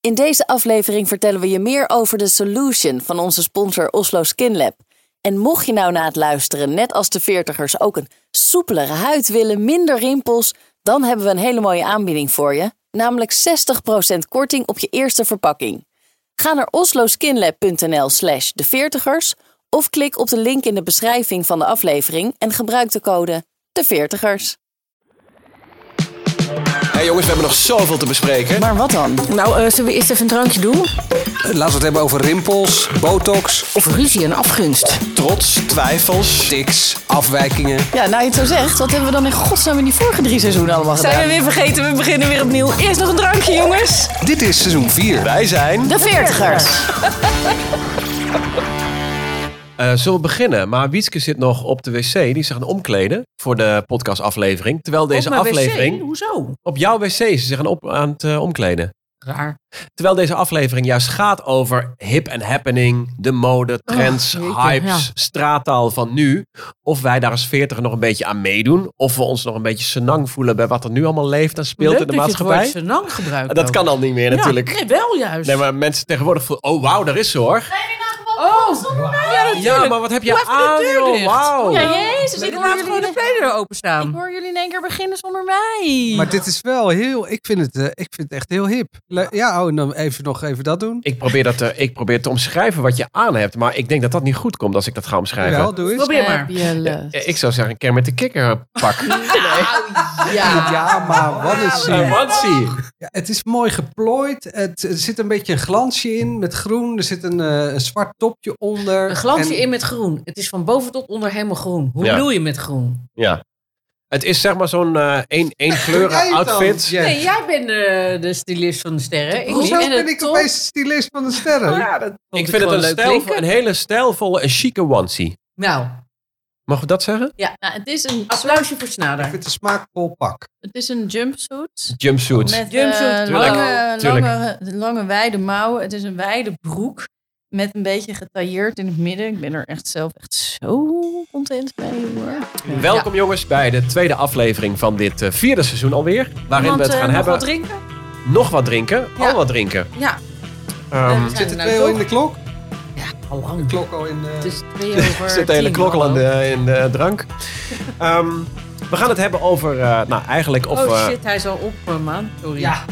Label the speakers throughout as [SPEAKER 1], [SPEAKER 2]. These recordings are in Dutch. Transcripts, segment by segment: [SPEAKER 1] In deze aflevering vertellen we je meer over de Solution van onze sponsor Oslo Skin Lab. En mocht je nou na het luisteren, net als de veertigers, ook een soepelere huid willen, minder rimpels, dan hebben we een hele mooie aanbieding voor je. Namelijk 60% korting op je eerste verpakking. Ga naar osloskinlab.nl slash de veertigers of klik op de link in de beschrijving van de aflevering en gebruik de code de veertigers.
[SPEAKER 2] Hey jongens, we hebben nog zoveel te bespreken.
[SPEAKER 1] Maar wat dan?
[SPEAKER 3] Nou, eh, zullen we eerst even een drankje doen?
[SPEAKER 2] Laten we het hebben over rimpels, botox,
[SPEAKER 3] Of ruzie en afgunst.
[SPEAKER 2] trots, twijfels, tics, afwijkingen.
[SPEAKER 1] Ja, nou je het zo zegt, wat hebben we dan in godsnaam in die vorige drie seizoenen allemaal gedaan?
[SPEAKER 3] Zijn we weer vergeten, we beginnen weer opnieuw. Eerst nog een drankje, jongens.
[SPEAKER 2] Dit is seizoen 4. Wij zijn...
[SPEAKER 1] De veertigers!
[SPEAKER 4] Eh, zullen we beginnen? Maar Wietske zit nog op de wc. Die is zich aan het omkleden voor de podcastaflevering. Terwijl deze
[SPEAKER 3] Op mijn wc?
[SPEAKER 4] aflevering...
[SPEAKER 3] Hoezo?
[SPEAKER 4] Op jouw wc is ze zich aan, op, aan het eh, omkleden.
[SPEAKER 3] Raar.
[SPEAKER 4] Terwijl deze aflevering juist gaat over hip en happening, de mode, trends,
[SPEAKER 3] jeetje,
[SPEAKER 4] hypes,
[SPEAKER 3] ja.
[SPEAKER 4] straattaal van nu. Of wij daar als veertiger nog een beetje aan meedoen. Of we ons nog een beetje senang voelen bij wat er nu allemaal leeft en speelt in de maatschappij.
[SPEAKER 3] senang gebruikt.
[SPEAKER 4] Dat kan al niet meer natuurlijk.
[SPEAKER 3] Ja, nee, wel juist.
[SPEAKER 5] Dus-
[SPEAKER 4] Nee, maar mensen tegenwoordig voelen, oh wauw, daar is ze hoor.
[SPEAKER 3] Oh, ja,
[SPEAKER 4] Ja, maar wat heb je
[SPEAKER 3] Doe even de
[SPEAKER 4] aan,
[SPEAKER 3] deur
[SPEAKER 4] joh,
[SPEAKER 3] dicht.
[SPEAKER 4] wauw.
[SPEAKER 1] Jezus,
[SPEAKER 3] Ik laat gewoon de trailer openstaan.
[SPEAKER 1] hoor jullie in één keer beginnen zonder mij.
[SPEAKER 6] Maar dit is wel heel, ik vind het, eh, ik vind het echt heel hip. Le- ja, oh, en dan even nog even dat doen.
[SPEAKER 4] Ik probeer, dat te, ik probeer te omschrijven wat je aan hebt, maar ik denk dat dat niet goed komt als ik dat ga omschrijven.
[SPEAKER 6] Wel, doe eens.
[SPEAKER 3] Probeer maar.
[SPEAKER 4] Eh, Ik zou zeggen, een keer met de kikker pak.
[SPEAKER 6] Ja, maar wat is
[SPEAKER 4] Een
[SPEAKER 6] het?
[SPEAKER 4] onesie.
[SPEAKER 6] Ja, het is mooi geplooid. Het, er zit een beetje een glansje in met groen. Er zit een, eh, een zwart topje onder.
[SPEAKER 3] Een glansje
[SPEAKER 6] En-
[SPEAKER 3] in met groen. Het is van boven tot onder helemaal groen. Hoe
[SPEAKER 4] Ja.
[SPEAKER 3] bedoel je met groen?
[SPEAKER 4] Ja. Het is zeg maar zo'n eh één, één
[SPEAKER 6] Jij
[SPEAKER 4] kleuren
[SPEAKER 6] het dan,
[SPEAKER 4] outfit.
[SPEAKER 6] Jen.
[SPEAKER 3] Nee, jij bent eh, de stylist van de sterren. Ik
[SPEAKER 6] Hoezo
[SPEAKER 3] niet. En
[SPEAKER 6] ben
[SPEAKER 3] de
[SPEAKER 6] ik
[SPEAKER 3] top-
[SPEAKER 6] opeens de stylist van de sterren?
[SPEAKER 4] Ik vind het een, stijl, een hele stijlvolle, een chique onesie.
[SPEAKER 3] Nou,
[SPEAKER 4] Mag ik dat zeggen?
[SPEAKER 5] Ja, nou, het, is een,
[SPEAKER 3] applausje voor
[SPEAKER 6] Ik
[SPEAKER 3] Snader.
[SPEAKER 6] vind het een smaakvol pak.
[SPEAKER 5] het is een jumpsuit.
[SPEAKER 4] Jumpsuits.
[SPEAKER 5] Met eh,
[SPEAKER 3] Jumpsuit, tuurlijk,
[SPEAKER 5] lange,
[SPEAKER 4] tuurlijk.
[SPEAKER 5] lange, lange wijde mouwen. Het is een wijde broek. Met een beetje getailleerd in het midden. Ik ben er echt zelf echt zo content mee hoor.
[SPEAKER 4] Welkom jongens bij de tweede aflevering van dit eh, vierde seizoen alweer. Waarin we
[SPEAKER 5] Iemand,
[SPEAKER 4] het
[SPEAKER 5] eh,
[SPEAKER 4] gaan
[SPEAKER 5] nog
[SPEAKER 4] hebben.
[SPEAKER 5] wat drinken?
[SPEAKER 4] nog wat drinken.
[SPEAKER 3] Ja.
[SPEAKER 4] Al wat drinken.
[SPEAKER 3] Ja.
[SPEAKER 4] Ehm,
[SPEAKER 3] we zijn
[SPEAKER 6] Zit het
[SPEAKER 3] nou
[SPEAKER 6] twee al
[SPEAKER 3] toch?
[SPEAKER 6] in de klok?
[SPEAKER 3] Al
[SPEAKER 6] De klok al in eh, de...
[SPEAKER 3] Het is twee over
[SPEAKER 4] Er zit de hele
[SPEAKER 3] tien,
[SPEAKER 4] klok al
[SPEAKER 3] hallo.
[SPEAKER 4] in de, in de drank. Ehm, we gaan het hebben over, eh, nou eigenlijk of...
[SPEAKER 3] oh
[SPEAKER 4] eh,
[SPEAKER 3] shit, hij is al op, eh, man. Sorry.
[SPEAKER 6] Ja.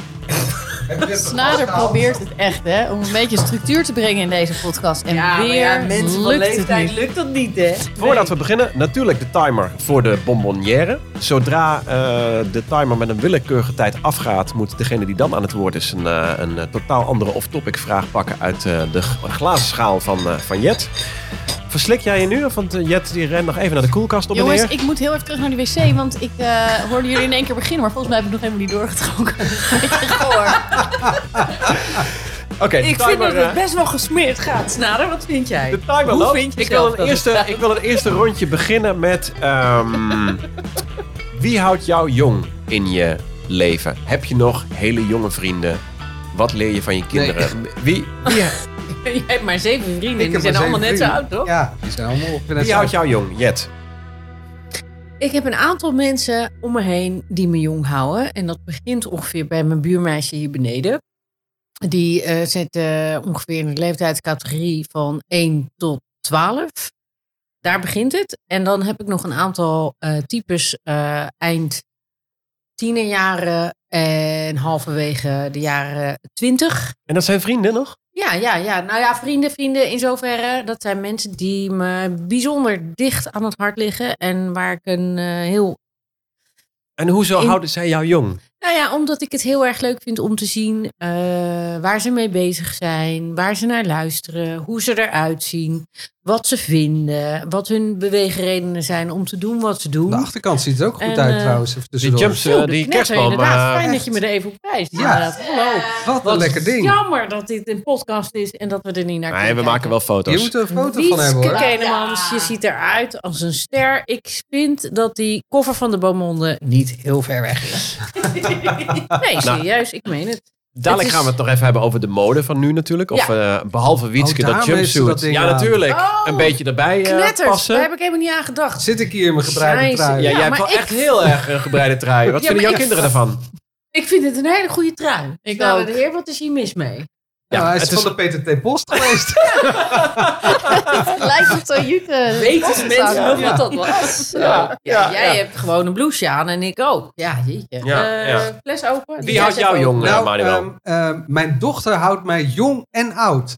[SPEAKER 6] Heb je het
[SPEAKER 5] Snader
[SPEAKER 6] vastgehaald?
[SPEAKER 5] probeert het echt hè, om een beetje structuur te brengen in deze podcast. En
[SPEAKER 3] Ja, maar
[SPEAKER 5] weer
[SPEAKER 3] ja, mensen van
[SPEAKER 5] lukt het
[SPEAKER 3] leeftijd
[SPEAKER 5] niet.
[SPEAKER 3] lukt dat niet, hè?
[SPEAKER 4] Voordat we beginnen, natuurlijk de timer voor de bonbonnière. Zodra eh, de timer met een willekeurige tijd afgaat, moet degene die dan aan het woord is een, eh, een eh, totaal andere off-topic vraag pakken uit eh, de g- glazen schaal van, eh, van Jet. Verslik jij je nu? of? Want eh, Jet die rent nog even naar de koelkast op en
[SPEAKER 5] Jongens,
[SPEAKER 4] neer.
[SPEAKER 5] ik moet heel even terug naar die wc, want ik eh, hoorde jullie in één keer beginnen, maar volgens mij heb ik nog helemaal niet doorgetrokken.
[SPEAKER 4] Oké, de
[SPEAKER 3] Ik
[SPEAKER 4] timer,
[SPEAKER 3] vind dat
[SPEAKER 4] eh,
[SPEAKER 3] het best wel gesmeerd gaat. Snader, wat vind jij?
[SPEAKER 4] de timer
[SPEAKER 3] Hoe
[SPEAKER 4] loopt.
[SPEAKER 3] vind je
[SPEAKER 4] ik, wil
[SPEAKER 3] zelf dat
[SPEAKER 4] een eerste, ik wil een eerste rondje beginnen met... ehm, wie houdt jou jong in je leven? Heb je nog hele jonge vrienden? Wat leer je van je kinderen? Wie,
[SPEAKER 3] Jij hebt maar zeven vrienden en
[SPEAKER 6] Ik
[SPEAKER 3] die
[SPEAKER 6] heb
[SPEAKER 3] zijn
[SPEAKER 6] maar
[SPEAKER 3] allemaal
[SPEAKER 6] zeven
[SPEAKER 3] net zo oud,
[SPEAKER 6] vrienden.
[SPEAKER 3] toch?
[SPEAKER 6] Ja, die zijn allemaal ongeveer net
[SPEAKER 4] Wie
[SPEAKER 6] zo
[SPEAKER 4] houdt
[SPEAKER 6] oud.
[SPEAKER 4] jou jong, Jet?
[SPEAKER 3] Ik heb een aantal mensen om me heen die me jong houden. En dat begint ongeveer bij mijn buurmeisje hier beneden. Die eh, zit eh, ongeveer in de leeftijdscategorie van 1 tot 12. Daar begint het. En dan heb ik nog een aantal eh, types eh, eind tienerjaren en halverwege de jaren 20.
[SPEAKER 4] En dat zijn vrienden nog?
[SPEAKER 3] Ja, ja, ja. Nou ja, vrienden, vrienden in zoverre. Dat zijn mensen die me eh, bijzonder dicht aan het hart liggen. En waar ik een eh, heel
[SPEAKER 4] En hoezo
[SPEAKER 3] In-
[SPEAKER 4] houden zij jou jong?
[SPEAKER 3] Nou ja, omdat ik het heel erg leuk vind om te zien eh, waar ze mee bezig zijn, waar ze naar luisteren, hoe ze eruit zien, wat ze vinden, wat hun beweegredenen zijn om te doen wat ze
[SPEAKER 4] Nou,
[SPEAKER 3] doen.
[SPEAKER 6] De achterkant ziet er ook goed
[SPEAKER 3] En,
[SPEAKER 6] uit
[SPEAKER 3] eh,
[SPEAKER 6] trouwens. even
[SPEAKER 4] Die
[SPEAKER 6] tussendoor.
[SPEAKER 4] jumps,
[SPEAKER 3] Zo,
[SPEAKER 4] eh,
[SPEAKER 3] de
[SPEAKER 4] die
[SPEAKER 3] knetter,
[SPEAKER 4] kerstboom.
[SPEAKER 3] Inderdaad,
[SPEAKER 4] eh,
[SPEAKER 3] fijn dat je me er even op wijst.
[SPEAKER 6] Ja.
[SPEAKER 3] Inderdaad. Hallo.
[SPEAKER 6] Wat een
[SPEAKER 3] Wat
[SPEAKER 6] lekker ding.
[SPEAKER 3] Jammer dat dit een podcast is en dat we er niet naar
[SPEAKER 4] nee, we maken wel
[SPEAKER 6] Je
[SPEAKER 4] foto's.
[SPEAKER 6] moet er een foto van hebben hoor.
[SPEAKER 3] Kenemans, je ziet eruit als een ster. Ik vind dat die koffer van de Beaumonde niet heel ver weg is.
[SPEAKER 4] Nou.
[SPEAKER 3] nee, serieus, ik meen het.
[SPEAKER 4] Dadelijk
[SPEAKER 3] Het is-
[SPEAKER 4] gaan we het nog even hebben over de mode van nu natuurlijk. Of eh, behalve Wietske,
[SPEAKER 6] Oh,
[SPEAKER 4] dat
[SPEAKER 6] daarom heeft ze
[SPEAKER 4] jumpsuit.
[SPEAKER 6] dat ding
[SPEAKER 4] ja,
[SPEAKER 6] aan.
[SPEAKER 4] natuurlijk.
[SPEAKER 3] Oh,
[SPEAKER 4] een beetje erbij eh,
[SPEAKER 3] Knetters, daar
[SPEAKER 4] passen.
[SPEAKER 3] heb ik helemaal niet aan gedacht.
[SPEAKER 6] Zit ik hier in mijn gebreide
[SPEAKER 3] Zij is-
[SPEAKER 6] trui?
[SPEAKER 4] Ja, jij
[SPEAKER 3] Ja,
[SPEAKER 4] hebt
[SPEAKER 3] maar
[SPEAKER 4] wel
[SPEAKER 3] ik-
[SPEAKER 4] echt heel erg een gebreide trui. Wat
[SPEAKER 3] Ja,
[SPEAKER 4] vinden
[SPEAKER 3] maar
[SPEAKER 4] jouw
[SPEAKER 3] ik-
[SPEAKER 4] kinderen daarvan?
[SPEAKER 3] Ik vind het een hele goede trui. Ik
[SPEAKER 5] Ik
[SPEAKER 3] nou,
[SPEAKER 5] ook.
[SPEAKER 3] de heer, wat is hier mis mee?
[SPEAKER 6] Ja, Nou, hij is
[SPEAKER 4] het is-
[SPEAKER 6] van de PTT Post geweest.
[SPEAKER 5] Het lijkt op zo'n juke.
[SPEAKER 3] Weten mensen nog wat dat was? Ja,
[SPEAKER 4] ja,
[SPEAKER 3] jij
[SPEAKER 4] ja.
[SPEAKER 3] hebt gewoon een blouse aan en ik ook. Ja, jeetje.
[SPEAKER 4] Ja,
[SPEAKER 3] Eh,
[SPEAKER 4] ja.
[SPEAKER 3] Fles open.
[SPEAKER 4] Wie houdt jou jong,
[SPEAKER 3] Nou,
[SPEAKER 4] eh, Manuel?
[SPEAKER 6] ehm, ehm, mijn dochter houdt mij jong en oud.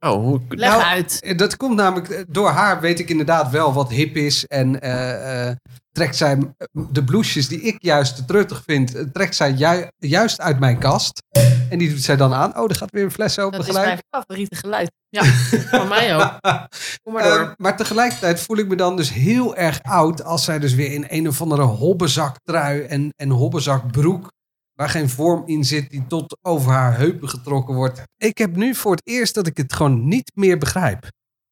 [SPEAKER 4] oh, hoe...
[SPEAKER 3] Leg
[SPEAKER 6] Nou,
[SPEAKER 3] uit.
[SPEAKER 6] Eh, Dat komt namelijk eh, door haar, weet ik inderdaad wel wat hip is. En eh, eh, trekt zij eh, de blouses die ik juist te truttig vind, eh, trekt zij ju- juist uit mijn kast. En die doet zij dan aan. Oh, er gaat weer een fles open
[SPEAKER 5] Dat is
[SPEAKER 6] gelijk.
[SPEAKER 5] mijn favoriete geluid.
[SPEAKER 3] Van mij ook. Kom maar
[SPEAKER 6] Ehm,
[SPEAKER 3] door.
[SPEAKER 6] Maar, tegelijkertijd voel ik me dan dus heel erg oud als zij dus weer in een of andere hobbezaktrui en, en hobbezakbroek, waar geen vorm in zit, die tot over haar heupen getrokken wordt. Ik heb nu voor het eerst dat ik het gewoon niet meer begrijp.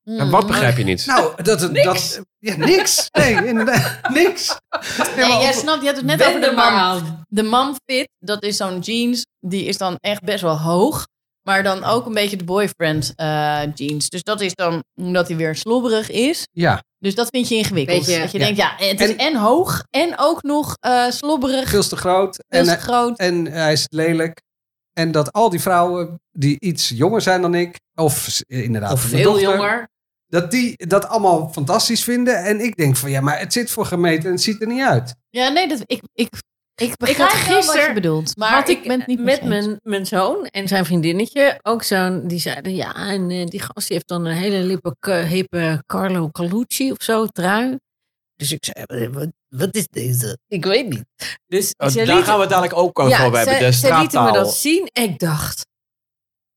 [SPEAKER 4] En wat begrijp je niet?
[SPEAKER 6] Nou, dat... het- dat ja, niks. Nee, inderdaad, niks. Nee, maar
[SPEAKER 5] Nee, jij
[SPEAKER 6] op-
[SPEAKER 5] snapt, je had het net
[SPEAKER 3] Wend
[SPEAKER 5] over de
[SPEAKER 3] er maar
[SPEAKER 5] man.
[SPEAKER 3] aan.
[SPEAKER 5] De manfit, dat is zo'n jeans, die is dan echt best wel hoog. Maar dan ook een beetje de boyfriend eh, jeans. Dus dat is dan omdat hij weer slobberig is.
[SPEAKER 6] ja,
[SPEAKER 5] Dus dat vind je ingewikkeld.
[SPEAKER 3] Beetje,
[SPEAKER 5] dat je
[SPEAKER 6] ja.
[SPEAKER 5] denkt, ja, het is
[SPEAKER 6] En-
[SPEAKER 5] en, hoog en ook nog eh, slobberig,
[SPEAKER 6] veel te groot.
[SPEAKER 5] veel
[SPEAKER 6] En, eh, hij-
[SPEAKER 5] te groot.
[SPEAKER 6] en hij is lelijk. En dat al die vrouwen die iets jonger zijn dan ik, of eh, inderdaad
[SPEAKER 3] Of
[SPEAKER 6] mijn
[SPEAKER 3] veel
[SPEAKER 6] dochter,
[SPEAKER 3] jonger.
[SPEAKER 6] dat die dat allemaal fantastisch vinden. En ik denk van ja, maar het zit voor gemeten en het ziet er niet uit.
[SPEAKER 5] Ja, nee, dat, ik, ik, ik begrijp
[SPEAKER 3] had
[SPEAKER 5] wel wat
[SPEAKER 3] gister-
[SPEAKER 5] je bedoelt. Maar
[SPEAKER 3] Had eh,
[SPEAKER 5] ik, ben het niet
[SPEAKER 3] met
[SPEAKER 5] je eens.
[SPEAKER 3] mijn, mijn zoon en zijn vriendinnetje ook zo'n. Die zeiden ja, en eh, die gast die heeft dan een hele lippe, k- hippe Carlo Calucci of zo trui. Dus ik zei, eh, wat, wat is deze? Ik weet niet. Dus
[SPEAKER 4] Oh,
[SPEAKER 3] ze
[SPEAKER 4] daar
[SPEAKER 3] lieten-
[SPEAKER 4] gaan we het dadelijk ook over
[SPEAKER 3] ja,
[SPEAKER 4] hebben.
[SPEAKER 3] ze-
[SPEAKER 4] De
[SPEAKER 3] ze lieten me
[SPEAKER 4] straattaal.
[SPEAKER 3] dat zien en ik dacht.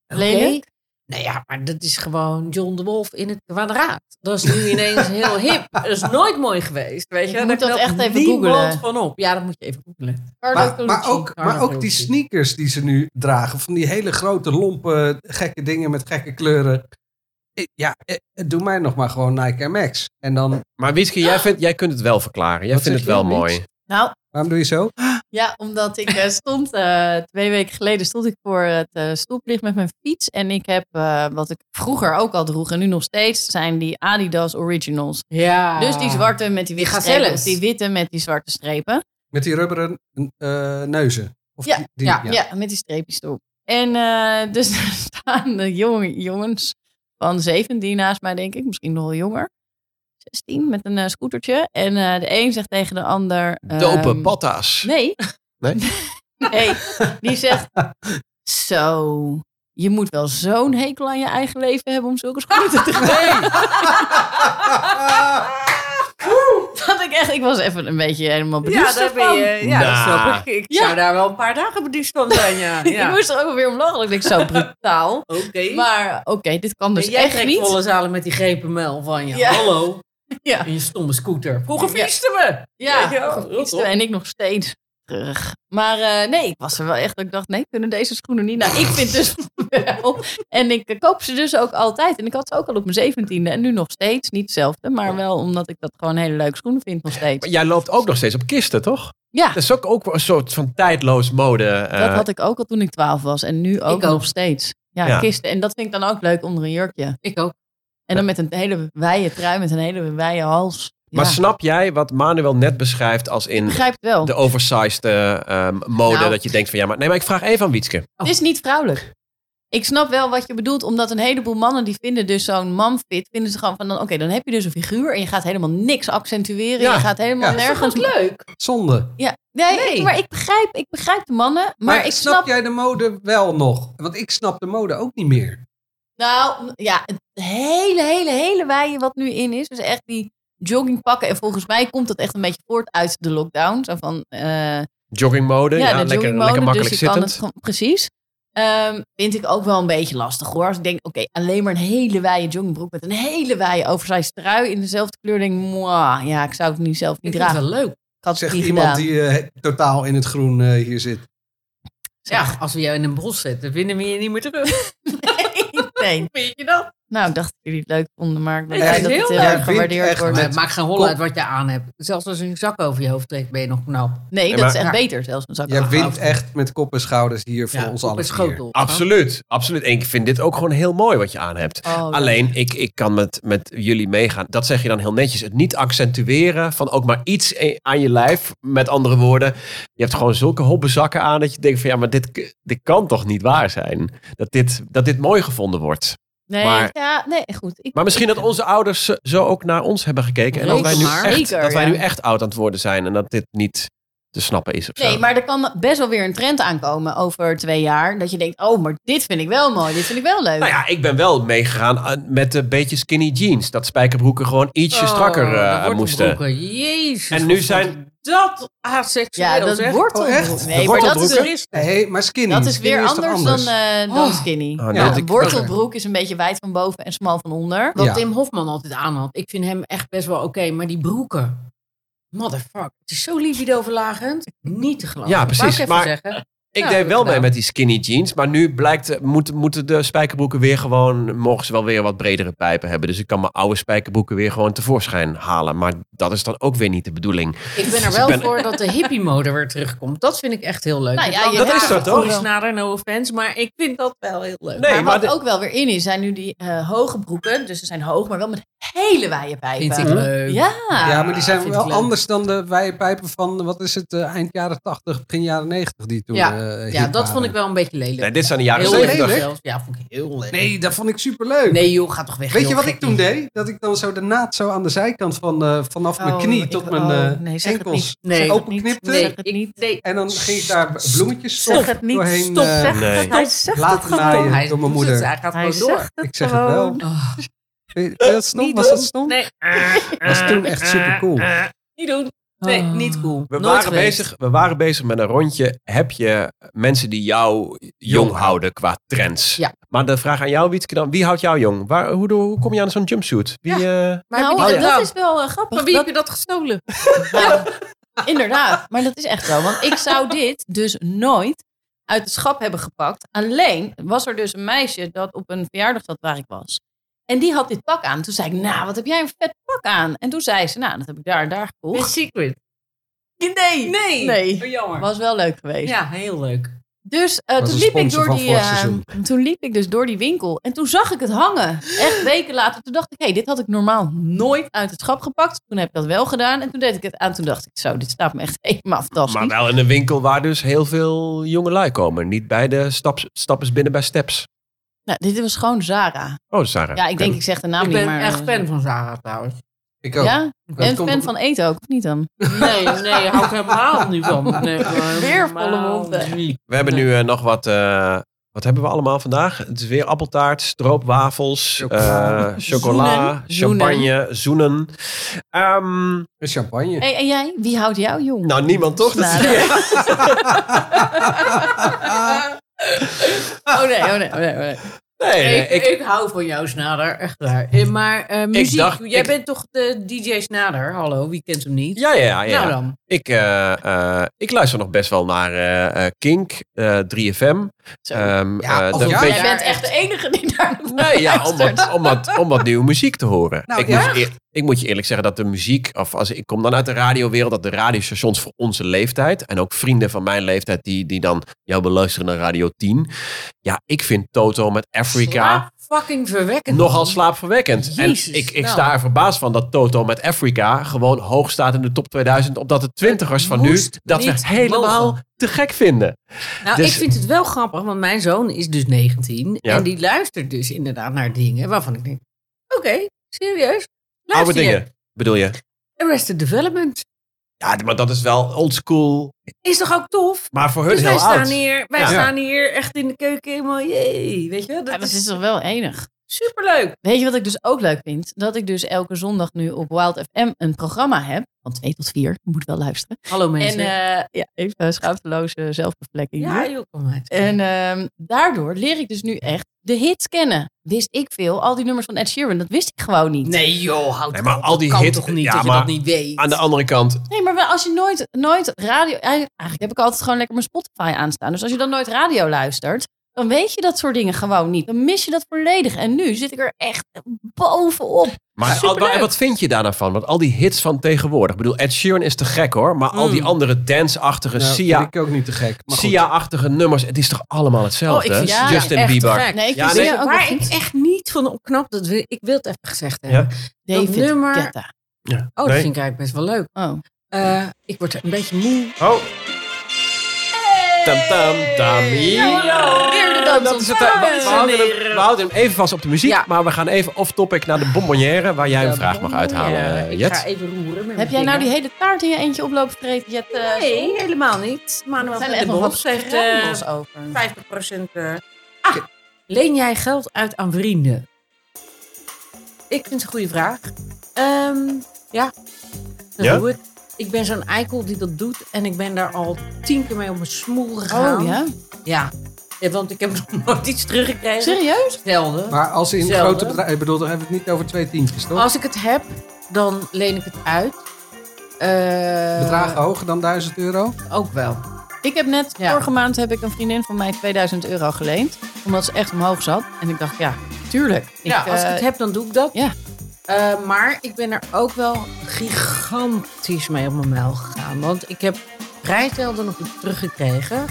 [SPEAKER 3] oké,
[SPEAKER 5] Lelijk?
[SPEAKER 3] Nou ja, maar dat is gewoon John de Wolf in het kwadraat. Dat is nu ineens heel hip. Dat is nooit mooi geweest, weet je.
[SPEAKER 5] Ik moet
[SPEAKER 3] Daar
[SPEAKER 5] dat
[SPEAKER 3] knapt
[SPEAKER 5] echt even
[SPEAKER 3] niemand
[SPEAKER 5] googlen.
[SPEAKER 3] van op. Ja, dat moet je even googlen.
[SPEAKER 6] Maar, maar, ook,
[SPEAKER 3] Carlo
[SPEAKER 6] maar ook die
[SPEAKER 3] Calucci.
[SPEAKER 6] sneakers die ze nu dragen, van die hele grote, lompe, gekke dingen met gekke kleuren. Ik- Ja, eh, doe mij nog maar gewoon Nike Air Max. En dan,
[SPEAKER 4] Maar Wieske, jij,
[SPEAKER 3] Ah.
[SPEAKER 4] vindt, jij kunt het wel verklaren. Jij
[SPEAKER 6] Wat
[SPEAKER 4] vindt het
[SPEAKER 6] zeg je?
[SPEAKER 4] wel
[SPEAKER 6] Niks?
[SPEAKER 4] mooi.
[SPEAKER 5] Nou,
[SPEAKER 6] waarom doe je zo?
[SPEAKER 5] ja, omdat ik eh, stond, eh, twee weken geleden stond ik voor het eh, stoplicht met mijn fiets. En ik heb, eh, wat ik vroeger ook al droeg en nu nog steeds, zijn die Adidas Originals.
[SPEAKER 3] Ja.
[SPEAKER 5] Dus die zwarte met die witte
[SPEAKER 3] gazelles.
[SPEAKER 5] strepen. of Die witte met die zwarte strepen.
[SPEAKER 6] Met die rubberen eh, neuzen. Of die, die-
[SPEAKER 5] Ja, ja. met die streepjes erop. En eh, dus daar staan de jonge jongens van 17 naast mij, denk ik. Misschien nog wel jonger. 16 met een eh, scootertje. En eh, de een zegt tegen de ander...
[SPEAKER 4] Dope
[SPEAKER 5] ehm,
[SPEAKER 4] patta's.
[SPEAKER 5] Nee.
[SPEAKER 4] Nee?
[SPEAKER 5] nee. Die zegt... Zo, je moet wel zo'n hekel aan je eigen leven hebben om zulke schoenen te dragen.
[SPEAKER 6] Ah,
[SPEAKER 5] Dat ik echt... Ik was even een beetje helemaal
[SPEAKER 3] Ja,
[SPEAKER 5] bedoeld
[SPEAKER 3] daar ben je, eh, ja dat
[SPEAKER 4] Nou.
[SPEAKER 3] snap ik. Ik
[SPEAKER 5] Ja.
[SPEAKER 3] zou daar wel een paar dagen beduusd van zijn, ja.
[SPEAKER 5] Ik
[SPEAKER 3] ja.
[SPEAKER 5] moest er ook weer om lachen. Ik denk, zo brutaal.
[SPEAKER 3] Oké.
[SPEAKER 5] Maar oké, dit kan dus
[SPEAKER 3] En jij
[SPEAKER 5] echt
[SPEAKER 3] trekt
[SPEAKER 5] niet.
[SPEAKER 3] volle zalen met die grepenmel van je.
[SPEAKER 5] Ja.
[SPEAKER 3] Hallo.
[SPEAKER 5] Ja.
[SPEAKER 3] En je stomme scooter. Vroeger
[SPEAKER 5] Ja.
[SPEAKER 3] fietsten we.
[SPEAKER 5] Ja,
[SPEAKER 3] Weet je wel,
[SPEAKER 5] vroeger fietsten
[SPEAKER 3] rot op.
[SPEAKER 5] en ik nog steeds terug. Maar eh, nee, ik was er wel echt. dat Ik dacht, nee, kunnen deze schoenen niet? Nou, ik vind dus wel. En ik eh, koop ze dus ook altijd. En ik had ze ook al op mijn zeventiende. En nu nog steeds. Niet hetzelfde, maar wel omdat ik dat gewoon hele leuke schoenen vind nog steeds.
[SPEAKER 4] Maar jij loopt ook nog steeds op kisten, toch?
[SPEAKER 5] Ja,
[SPEAKER 4] Dat is ook, ook wel een soort van tijdloos mode. eh,
[SPEAKER 5] dat had ik ook al toen ik twaalf was. En nu ook,
[SPEAKER 3] ook.
[SPEAKER 5] nog steeds. Ja,
[SPEAKER 4] Ja.
[SPEAKER 5] kisten. En dat vind ik dan ook leuk onder een jurkje.
[SPEAKER 3] Ik ook.
[SPEAKER 5] En dan met een hele wijde trui, met een hele wijde hals. Ja.
[SPEAKER 4] Maar snap jij wat Manuel net beschrijft als in
[SPEAKER 5] ik begrijp het wel.
[SPEAKER 4] de oversized eh, ehm, mode?
[SPEAKER 3] Nou.
[SPEAKER 4] Dat je denkt van ja, maar nee, maar ik vraag even aan Wietske.
[SPEAKER 3] Oh.
[SPEAKER 5] Het is niet vrouwelijk. Ik snap wel wat je bedoelt, omdat een heleboel mannen die vinden dus zo'n manfit, vinden ze gewoon van, dan, oké, dan heb je dus een figuur en je gaat helemaal niks accentueren,
[SPEAKER 4] Ja.
[SPEAKER 5] je gaat helemaal
[SPEAKER 6] Ja.
[SPEAKER 5] nergens.
[SPEAKER 3] Leuk.
[SPEAKER 6] Zonde.
[SPEAKER 5] Ja, nee,
[SPEAKER 3] Nee.
[SPEAKER 5] ik- maar ik begrijp, ik begrijp de mannen, maar,
[SPEAKER 6] Maar,
[SPEAKER 5] ik
[SPEAKER 6] snap,
[SPEAKER 5] snap,
[SPEAKER 6] jij de mode wel nog? Want ik snap de mode ook niet meer.
[SPEAKER 5] nou, ja, het hele, hele, hele wijje wat nu in is, dus echt die joggingpakken en volgens mij komt dat echt een beetje voort uit de lockdown, zo van, eh,
[SPEAKER 4] Joggingmode, ja,
[SPEAKER 5] Ja, de
[SPEAKER 4] lekker,
[SPEAKER 5] joggingmode,
[SPEAKER 4] lekker
[SPEAKER 5] dus
[SPEAKER 4] makkelijk
[SPEAKER 5] je kan het
[SPEAKER 4] zittend.
[SPEAKER 5] gewoon- precies. Ehm, vind ik ook wel een beetje lastig hoor. Als ik denk, oké, alleen maar een hele wijde joggingbroek met een hele wijde oversized trui in dezelfde kleur. Denk, ik, mwah, ja, ik zou het nu zelf
[SPEAKER 3] Ik
[SPEAKER 5] niet
[SPEAKER 3] vind het
[SPEAKER 5] dragen.
[SPEAKER 3] wel leuk.
[SPEAKER 5] Ik had het
[SPEAKER 6] Zegt
[SPEAKER 5] niet
[SPEAKER 6] iemand
[SPEAKER 5] gedaan.
[SPEAKER 6] die eh, totaal in het groen eh, hier zit.
[SPEAKER 3] Ja, als we jou in een bos zetten, vinden we je niet meer terug.
[SPEAKER 5] nee,
[SPEAKER 3] Vind je dat?
[SPEAKER 5] Nou, ik dacht dat jullie het leuk vonden, maar ik ben
[SPEAKER 6] Ik
[SPEAKER 5] blij
[SPEAKER 6] vind
[SPEAKER 5] dat
[SPEAKER 6] het
[SPEAKER 5] het
[SPEAKER 6] heel
[SPEAKER 5] heel
[SPEAKER 6] leuk.
[SPEAKER 5] erg
[SPEAKER 6] Ik vind
[SPEAKER 5] gewaardeerd
[SPEAKER 6] het
[SPEAKER 5] wordt.
[SPEAKER 6] echt
[SPEAKER 3] Het maakt geen hol
[SPEAKER 6] Kom.
[SPEAKER 3] uit wat je aan hebt. Zelfs als je een zak over je hoofd trekt, ben je nog knap.
[SPEAKER 5] Nee,
[SPEAKER 4] Ja,
[SPEAKER 5] dat is
[SPEAKER 4] maar-
[SPEAKER 5] echt
[SPEAKER 3] Ja.
[SPEAKER 5] beter zelfs. Oh, Een zak
[SPEAKER 6] Jij
[SPEAKER 5] afgehaald.
[SPEAKER 6] wint echt met kop en schouders hier voor
[SPEAKER 3] Ja,
[SPEAKER 6] ons
[SPEAKER 3] op
[SPEAKER 6] allen.
[SPEAKER 3] een schotel.
[SPEAKER 4] Absoluut, absoluut. En ik vind dit ook gewoon heel mooi wat je aan hebt.
[SPEAKER 5] Oh, ja.
[SPEAKER 4] Alleen, ik, ik kan met, met jullie meegaan. Dat zeg je dan heel netjes. Het niet accentueren van ook maar iets e- aan je lijf. Met andere woorden, je hebt gewoon zulke hobbezakken aan dat je denkt van ja, maar dit, k- dit kan toch niet waar zijn? Dat dit, dat dit mooi gevonden wordt.
[SPEAKER 5] Nee,
[SPEAKER 4] maar-
[SPEAKER 5] ja, nee, goed. Ik,
[SPEAKER 4] Maar misschien dat onze ouders zo- zo ook naar ons hebben gekeken. En dat wij nu
[SPEAKER 5] Zeker,
[SPEAKER 4] echt, dat wij
[SPEAKER 5] ja.
[SPEAKER 4] nu echt oud aan het worden zijn en dat dit niet te snappen is of zo.
[SPEAKER 5] Nee, maar er kan best wel weer een trend aankomen over twee jaar. Dat je denkt, oh, maar dit vind ik wel mooi. Dit vind ik wel leuk.
[SPEAKER 4] Nou ja, ik ben wel meegegaan aan- met een beetje skinny jeans. Dat spijkerbroeken gewoon
[SPEAKER 3] Oh,
[SPEAKER 4] ietsje strakker eh, moesten.
[SPEAKER 3] Jezus.
[SPEAKER 4] En nu
[SPEAKER 3] wat
[SPEAKER 4] zijn-
[SPEAKER 3] vond ik Dat aseksueel.
[SPEAKER 5] Ja, dat
[SPEAKER 3] zeg.
[SPEAKER 5] wordt
[SPEAKER 6] Oh, echt?
[SPEAKER 5] Nee,
[SPEAKER 4] De
[SPEAKER 5] maar dat is,
[SPEAKER 4] wortelbroeken?
[SPEAKER 5] een-
[SPEAKER 6] Hey, maar skinny.
[SPEAKER 5] dat is
[SPEAKER 6] skinny
[SPEAKER 5] weer
[SPEAKER 6] toch
[SPEAKER 5] anders, dan, eh, dan
[SPEAKER 3] Oh.
[SPEAKER 5] skinny.
[SPEAKER 4] Oh, nee,
[SPEAKER 5] ja,
[SPEAKER 4] dat
[SPEAKER 5] een
[SPEAKER 4] ik-
[SPEAKER 5] wortelbroek is een beetje wijd van boven en smal van onder.
[SPEAKER 3] Wat
[SPEAKER 6] Ja.
[SPEAKER 3] Tim Hofman altijd aan had. Ik vind hem echt best wel oké, maar die broeken. Motherfuck. Het is zo libidoverlagend. Niet te geloven.
[SPEAKER 4] Ja,
[SPEAKER 3] Wou ik
[SPEAKER 4] precies,
[SPEAKER 3] even
[SPEAKER 4] maar-
[SPEAKER 3] zeggen.
[SPEAKER 4] Ik
[SPEAKER 3] Ja,
[SPEAKER 4] deed
[SPEAKER 3] dat
[SPEAKER 4] wel mee
[SPEAKER 3] gedaan.
[SPEAKER 4] met die skinny jeans. Maar nu blijkt, eh, moet, moeten de spijkerbroeken weer gewoon... Mogen ze wel weer wat bredere pijpen hebben. Dus ik kan mijn oude spijkerbroeken weer gewoon tevoorschijn halen. Maar dat is dan ook weer niet de bedoeling.
[SPEAKER 3] Ik ben er wel
[SPEAKER 4] Ik ben-
[SPEAKER 3] voor dat de hippie-mode weer terugkomt. Dat vind ik echt heel leuk.
[SPEAKER 5] Nou ja,
[SPEAKER 3] kan
[SPEAKER 5] je
[SPEAKER 3] wel
[SPEAKER 4] Dat is
[SPEAKER 3] zeggen,
[SPEAKER 4] dat toch?
[SPEAKER 3] Boris Nader, no offense, maar ik vind dat wel heel leuk.
[SPEAKER 4] Nee,
[SPEAKER 5] maar
[SPEAKER 4] maar
[SPEAKER 5] wat
[SPEAKER 4] de-
[SPEAKER 5] ook wel weer in is, zijn nu die eh, hoge broeken. Dus ze zijn hoog, maar wel met hele wijde pijpen.
[SPEAKER 3] Vind ik leuk.
[SPEAKER 5] Ja.
[SPEAKER 6] ja, maar die zijn
[SPEAKER 3] vind ik
[SPEAKER 6] wel
[SPEAKER 3] leuk.
[SPEAKER 6] anders dan de wijpijpen van, wat is het, eh, eind jaren 80, begin jaren 90 die toen
[SPEAKER 3] Ja,
[SPEAKER 6] eh, hip
[SPEAKER 3] Ja, dat
[SPEAKER 6] waren.
[SPEAKER 3] vond ik wel een beetje lelijk.
[SPEAKER 4] Nee, dit zijn de jaren
[SPEAKER 3] heel
[SPEAKER 4] 70.
[SPEAKER 3] lelijk
[SPEAKER 6] lelijk.
[SPEAKER 3] zelfs. Ja, vond ik heel lelijk.
[SPEAKER 6] Nee, dat vond ik superleuk.
[SPEAKER 3] Nee, joh, ga toch weg.
[SPEAKER 6] Weet je
[SPEAKER 3] joh,
[SPEAKER 6] wat ik
[SPEAKER 3] gekkie.
[SPEAKER 6] toen deed? Dat ik dan zo de naad zo aan de zijkant van, eh, vanaf mijn
[SPEAKER 5] Oh,
[SPEAKER 6] knie
[SPEAKER 5] ik-
[SPEAKER 6] tot
[SPEAKER 5] oh,
[SPEAKER 6] mijn eh,
[SPEAKER 5] nee, zeg het
[SPEAKER 6] enkels
[SPEAKER 5] niet.
[SPEAKER 3] Nee.
[SPEAKER 5] Zeg het
[SPEAKER 6] open
[SPEAKER 5] niet.
[SPEAKER 6] knipte.
[SPEAKER 5] Zeg het
[SPEAKER 3] Ik-
[SPEAKER 5] niet.
[SPEAKER 3] nee.
[SPEAKER 6] En dan ging ik daar bloemetjes
[SPEAKER 5] Zeg
[SPEAKER 6] stof
[SPEAKER 5] het niet.
[SPEAKER 6] doorheen
[SPEAKER 5] Stop.
[SPEAKER 6] eh,
[SPEAKER 5] Zeg
[SPEAKER 4] nee.
[SPEAKER 5] het. Hij zegt
[SPEAKER 6] laten naaien
[SPEAKER 3] Hij doet
[SPEAKER 6] door mijn
[SPEAKER 3] het,
[SPEAKER 6] moeder.
[SPEAKER 3] Hij gaat
[SPEAKER 5] Hij
[SPEAKER 3] gewoon door.
[SPEAKER 5] zegt het
[SPEAKER 6] Ik zeg het wel.
[SPEAKER 5] gewoon.
[SPEAKER 3] Oh,
[SPEAKER 6] Vind je dat stom?
[SPEAKER 5] Niet
[SPEAKER 6] Was dat
[SPEAKER 5] doen.
[SPEAKER 6] stom?
[SPEAKER 3] nee.
[SPEAKER 6] Was toen echt supercool.
[SPEAKER 5] Niet doen.
[SPEAKER 3] Nee, niet cool.
[SPEAKER 4] We
[SPEAKER 3] Oh. Nooit
[SPEAKER 4] waren,
[SPEAKER 3] geweest.
[SPEAKER 4] bezig, we waren bezig met een rondje. Heb je mensen die jou jong houden qua trends?
[SPEAKER 3] Ja.
[SPEAKER 4] Maar de vraag aan jou, Wietke, dan. Wie houdt jou jong? Waar, hoe, hoe kom je aan zo'n jumpsuit? Wie, eh,
[SPEAKER 3] Maar
[SPEAKER 5] nou,
[SPEAKER 6] Oh,
[SPEAKER 3] heb je dat
[SPEAKER 5] dat
[SPEAKER 3] gedaan?
[SPEAKER 5] is wel eh, grappig.
[SPEAKER 3] Van wie
[SPEAKER 5] Dat-
[SPEAKER 3] heb je dat gestolen?
[SPEAKER 5] Ja, inderdaad. Maar dat is echt zo. Want ik zou dit dus nooit uit het schap hebben gepakt. Alleen was er dus een meisje dat op een verjaardag zat waar ik was. En die had dit pak aan. Toen zei ik, nou, wat heb jij een vet pak aan? En toen zei ze, nou, dat heb ik daar en daar
[SPEAKER 3] Een
[SPEAKER 5] gekocht.
[SPEAKER 3] secret.
[SPEAKER 5] Nee. Nee.
[SPEAKER 3] Oh, jammer.
[SPEAKER 5] Was wel leuk geweest.
[SPEAKER 3] Ja, heel leuk.
[SPEAKER 5] Dus eh,
[SPEAKER 6] Was
[SPEAKER 5] toen
[SPEAKER 6] een
[SPEAKER 5] liep ik
[SPEAKER 6] sponsor
[SPEAKER 5] door
[SPEAKER 6] van
[SPEAKER 5] die,
[SPEAKER 6] vorig
[SPEAKER 5] eh,
[SPEAKER 6] seizoen.
[SPEAKER 5] toen liep ik dus door die winkel en toen zag ik het hangen. Echt weken later. Toen dacht ik, hé, hey, dit had ik normaal nooit uit het schap gepakt. Toen heb ik dat wel gedaan en toen deed ik het aan. Toen dacht ik, zo, dit staat me echt helemaal fantastisch.
[SPEAKER 4] Maar wel in een winkel waar dus heel veel jongelui komen. Niet bij de staps, stappers binnen bij steps.
[SPEAKER 5] Nou, dit was gewoon Zara.
[SPEAKER 4] Oh, Sarah.
[SPEAKER 5] Ja, ik denk, ik zeg de naam
[SPEAKER 3] ik
[SPEAKER 5] niet,
[SPEAKER 3] ben
[SPEAKER 5] maar...
[SPEAKER 3] echt
[SPEAKER 5] eh,
[SPEAKER 3] fan van Zara trouwens.
[SPEAKER 6] Ik ook.
[SPEAKER 5] Ja?
[SPEAKER 6] Dat
[SPEAKER 5] En
[SPEAKER 6] komt
[SPEAKER 5] fan
[SPEAKER 6] om-
[SPEAKER 5] van eten ook, of niet dan?
[SPEAKER 3] Nee, nee, hou ik helemaal niet van. Nee,
[SPEAKER 5] Weer volle monden.
[SPEAKER 3] niet.
[SPEAKER 4] We hebben nu eh, nog wat... eh, wat hebben we allemaal vandaag? Het is weer appeltaart, stroopwafels,
[SPEAKER 6] Chocola.
[SPEAKER 4] eh, chocola,
[SPEAKER 5] Zoenen.
[SPEAKER 4] champagne, zoenen. Ehm,
[SPEAKER 6] Een champagne.
[SPEAKER 5] Hey, en jij? Wie houdt jou jong?
[SPEAKER 4] nou, niemand toch? Dat
[SPEAKER 5] Nou, Oh nee, oh nee, oh nee. Oh nee.
[SPEAKER 4] nee, nee,
[SPEAKER 3] Ik,
[SPEAKER 4] eh, ik,
[SPEAKER 3] ik, hou van jou, Snader. Echt waar. Eh, Maar eh, muziek,
[SPEAKER 4] dacht-
[SPEAKER 3] jij
[SPEAKER 4] ik-
[SPEAKER 3] bent toch de DJ Snader? Hallo, wie kent hem niet?
[SPEAKER 4] ja, ja, ja. ja.
[SPEAKER 3] Nou dan.
[SPEAKER 4] Ik, eh, eh, ik luister nog best wel naar eh, eh, Kink, eh, 3FM.
[SPEAKER 5] Zo.
[SPEAKER 4] Ehm,
[SPEAKER 6] Ja,
[SPEAKER 4] eh,
[SPEAKER 6] oh
[SPEAKER 4] dat
[SPEAKER 6] ja?
[SPEAKER 4] een beetje-
[SPEAKER 5] Jij bent echt de enige die daar
[SPEAKER 4] Nee, ja, om wat, om, wat, om wat nieuwe muziek te horen.
[SPEAKER 6] Nou,
[SPEAKER 4] ik, moet je, eer- ik moet je eerlijk zeggen dat de muziek, of als ik kom dan uit de radiowereld, dat de radiostations voor onze leeftijd en ook vrienden van mijn leeftijd die, die dan jou beluisteren naar Radio 10. Ja, ik vind Toto met Africa
[SPEAKER 3] Slaap fucking verwekkend.
[SPEAKER 4] nogal slaapverwekkend.
[SPEAKER 3] Jezus,
[SPEAKER 4] en ik, ik
[SPEAKER 3] nou.
[SPEAKER 4] sta er verbaasd van dat Toto met Africa gewoon hoog staat in de top 2000, omdat de twintigers van nu
[SPEAKER 3] moest
[SPEAKER 4] dat we
[SPEAKER 3] niet
[SPEAKER 4] helemaal
[SPEAKER 3] mogen.
[SPEAKER 4] te gek vinden.
[SPEAKER 3] Nou,
[SPEAKER 4] Dus-
[SPEAKER 3] ik vind het wel grappig, want mijn zoon is dus 19.
[SPEAKER 4] Ja.
[SPEAKER 3] En die luistert dus inderdaad naar dingen waarvan ik denk... Oké, serieus?
[SPEAKER 4] Oude
[SPEAKER 3] Luister je?
[SPEAKER 4] dingen, bedoel je?
[SPEAKER 3] Arrested Development.
[SPEAKER 4] Ja, maar dat is wel oldschool.
[SPEAKER 3] Is toch ook tof?
[SPEAKER 4] Maar voor hun
[SPEAKER 3] Dus
[SPEAKER 4] heel
[SPEAKER 3] wij,
[SPEAKER 4] oud.
[SPEAKER 3] staan hier, wij
[SPEAKER 4] Ja.
[SPEAKER 3] staan hier echt in de keuken helemaal... Jee, weet je?
[SPEAKER 5] Ja,
[SPEAKER 3] Dat
[SPEAKER 5] dat
[SPEAKER 3] is
[SPEAKER 5] is toch wel enig.
[SPEAKER 3] superleuk.
[SPEAKER 5] Weet je wat ik dus ook leuk vind? Dat ik dus elke zondag nu op Wild FM een programma heb. Van 2 tot 4. Je moet wel luisteren.
[SPEAKER 3] Hallo mensen.
[SPEAKER 5] En eh, ja, even eh, schaamteloze zelfbevlekking.
[SPEAKER 3] ja,
[SPEAKER 5] hier.
[SPEAKER 3] joh, kom uit.
[SPEAKER 5] En ehm, daardoor leer ik dus nu echt de hits kennen. Wist ik veel. Al die nummers van Ed Sheeran, dat wist ik gewoon niet.
[SPEAKER 3] Nee joh, houd
[SPEAKER 4] Nee, maar
[SPEAKER 3] op.
[SPEAKER 4] al
[SPEAKER 3] Dat
[SPEAKER 4] die
[SPEAKER 3] kan
[SPEAKER 4] hit-
[SPEAKER 3] toch niet
[SPEAKER 4] ja,
[SPEAKER 3] dat je
[SPEAKER 4] maar
[SPEAKER 3] dat niet weet?
[SPEAKER 4] Aan de andere kant,
[SPEAKER 5] Nee, maar wel, als je nooit, nooit radio... Eigenlijk heb ik altijd gewoon lekker mijn Spotify aanstaan. Dus als je dan nooit radio luistert, Dan weet je dat soort dingen gewoon niet. Dan mis je dat volledig. En nu zit ik er echt bovenop.
[SPEAKER 4] Maar al-
[SPEAKER 5] Superleuk.
[SPEAKER 4] maar wat vind je daar nou van? Want al die hits van tegenwoordig. Ik bedoel, Ed Sheeran is te gek hoor. Maar al
[SPEAKER 3] Hmm.
[SPEAKER 4] die
[SPEAKER 6] Mm.
[SPEAKER 4] andere dance-achtige,
[SPEAKER 6] Nou,
[SPEAKER 4] Eh, Sia,
[SPEAKER 6] vind ik ook niet te gek. Maar goed.
[SPEAKER 4] Sia-achtige nummers. Het is toch allemaal hetzelfde?
[SPEAKER 3] Oh, ik vind
[SPEAKER 4] hè?
[SPEAKER 5] Sia
[SPEAKER 4] Justin
[SPEAKER 3] echt
[SPEAKER 4] Bieber.
[SPEAKER 3] gek.
[SPEAKER 5] Nee, ik
[SPEAKER 4] Ja,
[SPEAKER 5] vind
[SPEAKER 4] nee.
[SPEAKER 5] Sia ook wel
[SPEAKER 3] Waar ik
[SPEAKER 5] goed.
[SPEAKER 3] echt niet van opknap, dat wil, ik wil het even gezegd hebben.
[SPEAKER 5] David
[SPEAKER 3] nummer-
[SPEAKER 5] Guetta.
[SPEAKER 3] Oh, dat
[SPEAKER 4] Nee.
[SPEAKER 3] vind ik eigenlijk best wel leuk.
[SPEAKER 5] Oh.
[SPEAKER 3] Eh, ik word er een beetje moe.
[SPEAKER 4] Oh. Tam, tam, tam. Ja,
[SPEAKER 5] weer de dans
[SPEAKER 4] dat is het. We
[SPEAKER 3] eh,
[SPEAKER 5] ontvangen.
[SPEAKER 4] we houden, hem, we houden hem even vast op de muziek.
[SPEAKER 3] Ja.
[SPEAKER 4] Maar we gaan even off-topic naar de bonbonnière. Waar jij een
[SPEAKER 3] Ja,
[SPEAKER 4] vraag mag uithalen,
[SPEAKER 3] eh,
[SPEAKER 4] eh,
[SPEAKER 3] ik
[SPEAKER 4] Jet.
[SPEAKER 3] ga even roeren. met
[SPEAKER 5] Heb
[SPEAKER 3] mijn
[SPEAKER 5] jij nou die
[SPEAKER 3] vinger.
[SPEAKER 5] hele taart in je eentje oplopen vreten? Jet, eh,
[SPEAKER 3] Nee, helemaal niet. Manuel
[SPEAKER 5] Er
[SPEAKER 3] van
[SPEAKER 5] zijn
[SPEAKER 3] de
[SPEAKER 5] echt nog wat
[SPEAKER 3] Bos heeft eh,
[SPEAKER 5] schrandels over.
[SPEAKER 3] 50 eh, ah, leen jij geld uit aan vrienden? Ik vind het een goede vraag. Ehm, ja, dat
[SPEAKER 4] Ja?
[SPEAKER 3] doe ik. Ik ben zo'n eikel die dat doet en ik ben daar al tien keer mee op mijn smoel gegaan.
[SPEAKER 5] Oh ja?
[SPEAKER 3] Ja. Ja, want ik heb nog nooit iets teruggekregen.
[SPEAKER 5] Serieus?
[SPEAKER 3] Zelden.
[SPEAKER 6] Maar als in
[SPEAKER 3] Zelden.
[SPEAKER 6] grote bedrijven... Ik bedoel, dan hebben we het niet over twee tientjes,
[SPEAKER 5] Oh.
[SPEAKER 6] toch?
[SPEAKER 3] Als ik het heb, dan leen ik het uit. Eh,
[SPEAKER 6] Bedragen hoger dan 1000 euro?
[SPEAKER 3] Ook wel.
[SPEAKER 5] Ik heb net,
[SPEAKER 3] Ja.
[SPEAKER 5] vorige maand heb ik een vriendin van mij 2000 euro geleend. Omdat ze echt omhoog zat. En ik dacht, ja, tuurlijk. Ik,
[SPEAKER 3] ja, als ik
[SPEAKER 5] eh,
[SPEAKER 3] het heb, dan doe ik dat.
[SPEAKER 5] ja.
[SPEAKER 3] Eh, maar ik ben er ook wel gigantisch mee op mijn mijl gegaan. Want ik heb vrij zelden nog iets teruggekregen.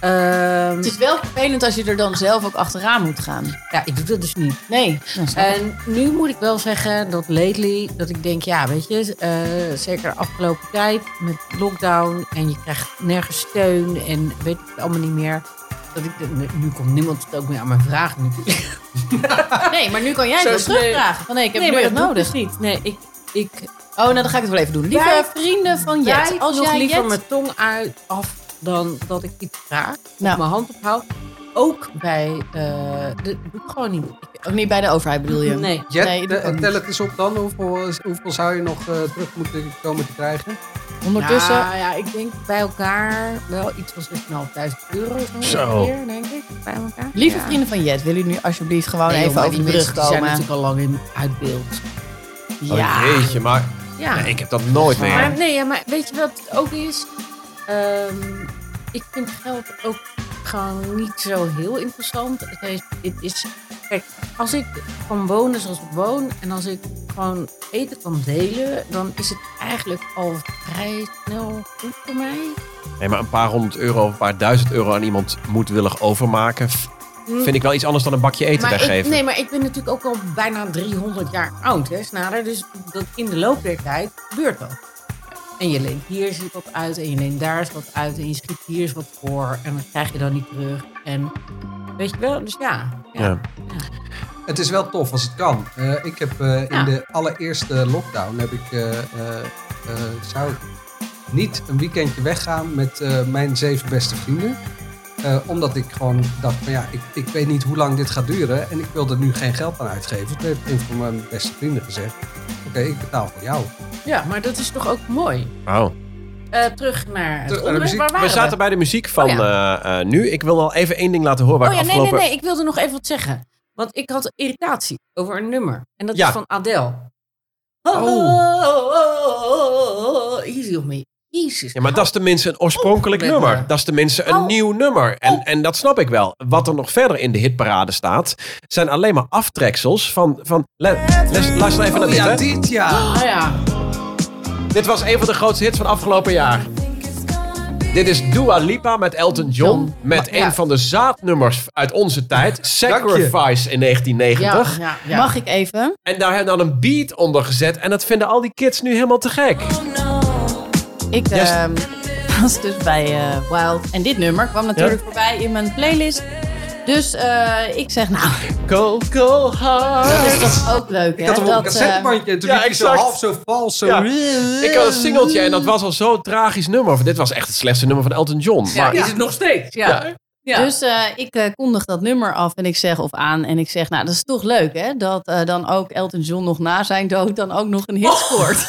[SPEAKER 3] Ehm,
[SPEAKER 5] het is wel vervelend als je er dan zelf ook achteraan moet gaan.
[SPEAKER 3] ja, ik doe dat dus niet.
[SPEAKER 5] Nee. dan snap ik.
[SPEAKER 3] En nu moet ik wel zeggen dat lately, dat ik denk, ja, weet je, eh, zeker afgelopen tijd met lockdown en je krijgt nergens steun en weet ik het allemaal niet meer. Dat ik, eh, nu komt niemand het ook meer aan mijn vraag natuurlijk.
[SPEAKER 5] nee, maar nu kan jij het
[SPEAKER 3] Zo
[SPEAKER 5] wel
[SPEAKER 3] sneu.
[SPEAKER 5] terugvragen. Van nee, ik heb
[SPEAKER 3] Nee,
[SPEAKER 5] nu
[SPEAKER 3] maar
[SPEAKER 5] echt
[SPEAKER 3] dat doe ik
[SPEAKER 5] nodig.
[SPEAKER 3] Niet. Nee, ik, ik
[SPEAKER 5] Oh, nou dan ga ik het wel even doen. Lieve
[SPEAKER 3] Wij-
[SPEAKER 5] vrienden van
[SPEAKER 3] Ja,
[SPEAKER 5] Jet. Als
[SPEAKER 3] nog
[SPEAKER 5] jij
[SPEAKER 3] liever
[SPEAKER 5] Jet...
[SPEAKER 3] mijn tong uit af dan dat ik iets vraag.
[SPEAKER 5] Nou.
[SPEAKER 3] Of mijn hand ophoud. Ook bij... eh de, doe ik gewoon niet. Ik-
[SPEAKER 5] Ook Oh, niet bij de overheid bedoel je?
[SPEAKER 3] Nee.
[SPEAKER 6] Jet,
[SPEAKER 5] Nee, dat
[SPEAKER 6] eh,
[SPEAKER 5] kan niet.
[SPEAKER 6] tel het eens op dan. Hoeveel, is- hoeveel zou je nog eh, terug moeten komen te krijgen?
[SPEAKER 5] Ondertussen...
[SPEAKER 3] Ja, ja, ik denk bij elkaar wel iets van 6.500 euro. Zo.
[SPEAKER 4] Zo.
[SPEAKER 3] ongeveer, denk ik. Bij elkaar.
[SPEAKER 5] Lieve
[SPEAKER 3] Ja.
[SPEAKER 5] vrienden van Jet, willen jullie nu alsjeblieft gewoon
[SPEAKER 3] Nee,
[SPEAKER 5] Oh, even
[SPEAKER 3] joh, maar
[SPEAKER 5] over de
[SPEAKER 3] Oh, die
[SPEAKER 5] brug
[SPEAKER 3] mensen die zijn natuurlijk
[SPEAKER 5] komen?
[SPEAKER 3] al lang in, uit beeld.
[SPEAKER 4] Oh,
[SPEAKER 5] Ja.
[SPEAKER 4] jeetje, maar
[SPEAKER 3] Ja.
[SPEAKER 4] nee, ik heb dat nooit meer.
[SPEAKER 3] Maar, nee, ja, maar weet je wat het ook is? Ehm, ik vind geld ook gewoon niet zo heel interessant. Het is, het is, kijk, als ik kan wonen zoals ik woon en als ik gewoon eten kan delen, dan is het eigenlijk al vrij snel goed voor mij.
[SPEAKER 4] Nee, maar een paar honderd euro, een paar duizend euro aan iemand moedwillig overmaken. f-
[SPEAKER 3] Hm.
[SPEAKER 4] Vind ik wel iets anders dan een bakje eten
[SPEAKER 3] Maar ik,
[SPEAKER 4] weggeven.
[SPEAKER 3] nee, maar ik ben natuurlijk ook al bijna 300 jaar oud, hè, Snader. Dus dat in de loop der tijd gebeurt dat. En je leent hier eens wat uit en je leent daar eens wat uit en je schiet hier eens wat voor en dat krijg je dan niet terug. En weet je wel, dus ja. ja.
[SPEAKER 4] Ja.
[SPEAKER 6] Het is wel tof als het kan. Eh, ik heb eh,
[SPEAKER 3] Ja.
[SPEAKER 6] in de allereerste lockdown heb ik eh, eh, eh, zou ik niet een weekendje weggaan met eh, mijn zeven beste vrienden. Eh, omdat ik gewoon dacht, van ja, ik, ik weet niet hoe lang dit gaat duren en ik wil er nu geen geld aan uitgeven. Toen heeft een van mijn beste vrienden gezegd, oké, ik betaal voor jou.
[SPEAKER 3] Ja, maar dat is toch ook mooi.
[SPEAKER 4] Wauw.
[SPEAKER 3] Eh, terug naar het
[SPEAKER 6] Terug naar de
[SPEAKER 3] onderwerp.
[SPEAKER 6] muziek.
[SPEAKER 3] Waar waren
[SPEAKER 4] Oh. We zaten bij de muziek van
[SPEAKER 3] Oh,
[SPEAKER 4] eh, eh, nu. Ik wil wel even één ding laten horen waar
[SPEAKER 3] oh ja,
[SPEAKER 4] ik afgelopen...
[SPEAKER 3] nee, nee, nee. Ik wilde nog even wat zeggen. Want ik had irritatie over een nummer. En dat
[SPEAKER 4] Ja.
[SPEAKER 3] is van Adele.
[SPEAKER 6] Oh.
[SPEAKER 3] oh, Easy on me. Jezus.
[SPEAKER 4] Ja, maar dat is tenminste een oorspronkelijk
[SPEAKER 3] Oh, met
[SPEAKER 4] nummer.
[SPEAKER 3] me.
[SPEAKER 4] Dat is tenminste een
[SPEAKER 3] Oh.
[SPEAKER 4] nieuw nummer. En, en dat snap ik wel. Wat er nog verder in de hitparade staat, zijn alleen maar aftreksels van... van le- les- luister even naar
[SPEAKER 6] Oh
[SPEAKER 4] dit,
[SPEAKER 6] ja,
[SPEAKER 4] hè.
[SPEAKER 6] dit ja!
[SPEAKER 3] Ah ja.
[SPEAKER 4] Dit was een van de grootste hits van afgelopen jaar. Dit is Dua Lipa met Elton John. Met
[SPEAKER 3] ja.
[SPEAKER 4] een van de zaadnummers uit onze tijd. Sacrifice in 1990.
[SPEAKER 3] Ja,
[SPEAKER 5] Mag ik even?
[SPEAKER 4] En daar hebben we dan een beat onder gezet. En dat vinden al die kids nu helemaal te gek.
[SPEAKER 5] Ik
[SPEAKER 4] Yes.
[SPEAKER 5] ehm, was dus bij eh, Wild. En dit nummer kwam natuurlijk voorbij in mijn playlist. Dus eh, ik zeg, nou,
[SPEAKER 4] Cold, cold
[SPEAKER 5] dat
[SPEAKER 4] heart.
[SPEAKER 5] is toch ook leuk,
[SPEAKER 6] Ik
[SPEAKER 5] hè?
[SPEAKER 6] had hem op een
[SPEAKER 5] Dat, eh,
[SPEAKER 6] cassettebandje en toen
[SPEAKER 4] ja,
[SPEAKER 6] liep ik zo
[SPEAKER 4] exact.
[SPEAKER 6] half zo vals. Zo.
[SPEAKER 4] Ja. Ik had een
[SPEAKER 6] Ehm.
[SPEAKER 4] singeltje en dat was al zo'n tragisch nummer. Dit was echt het slechtste nummer van Elton John. Maar
[SPEAKER 3] is het nog steeds? Ja.
[SPEAKER 4] Ja.
[SPEAKER 3] Ja.
[SPEAKER 5] Dus eh, ik eh, kondig dat nummer af en ik zeg of aan. En ik zeg, nou, dat is toch leuk, hè? Dat eh, dan ook Elton John nog na zijn dood dan ook nog een
[SPEAKER 3] Oh.
[SPEAKER 5] hit scoort.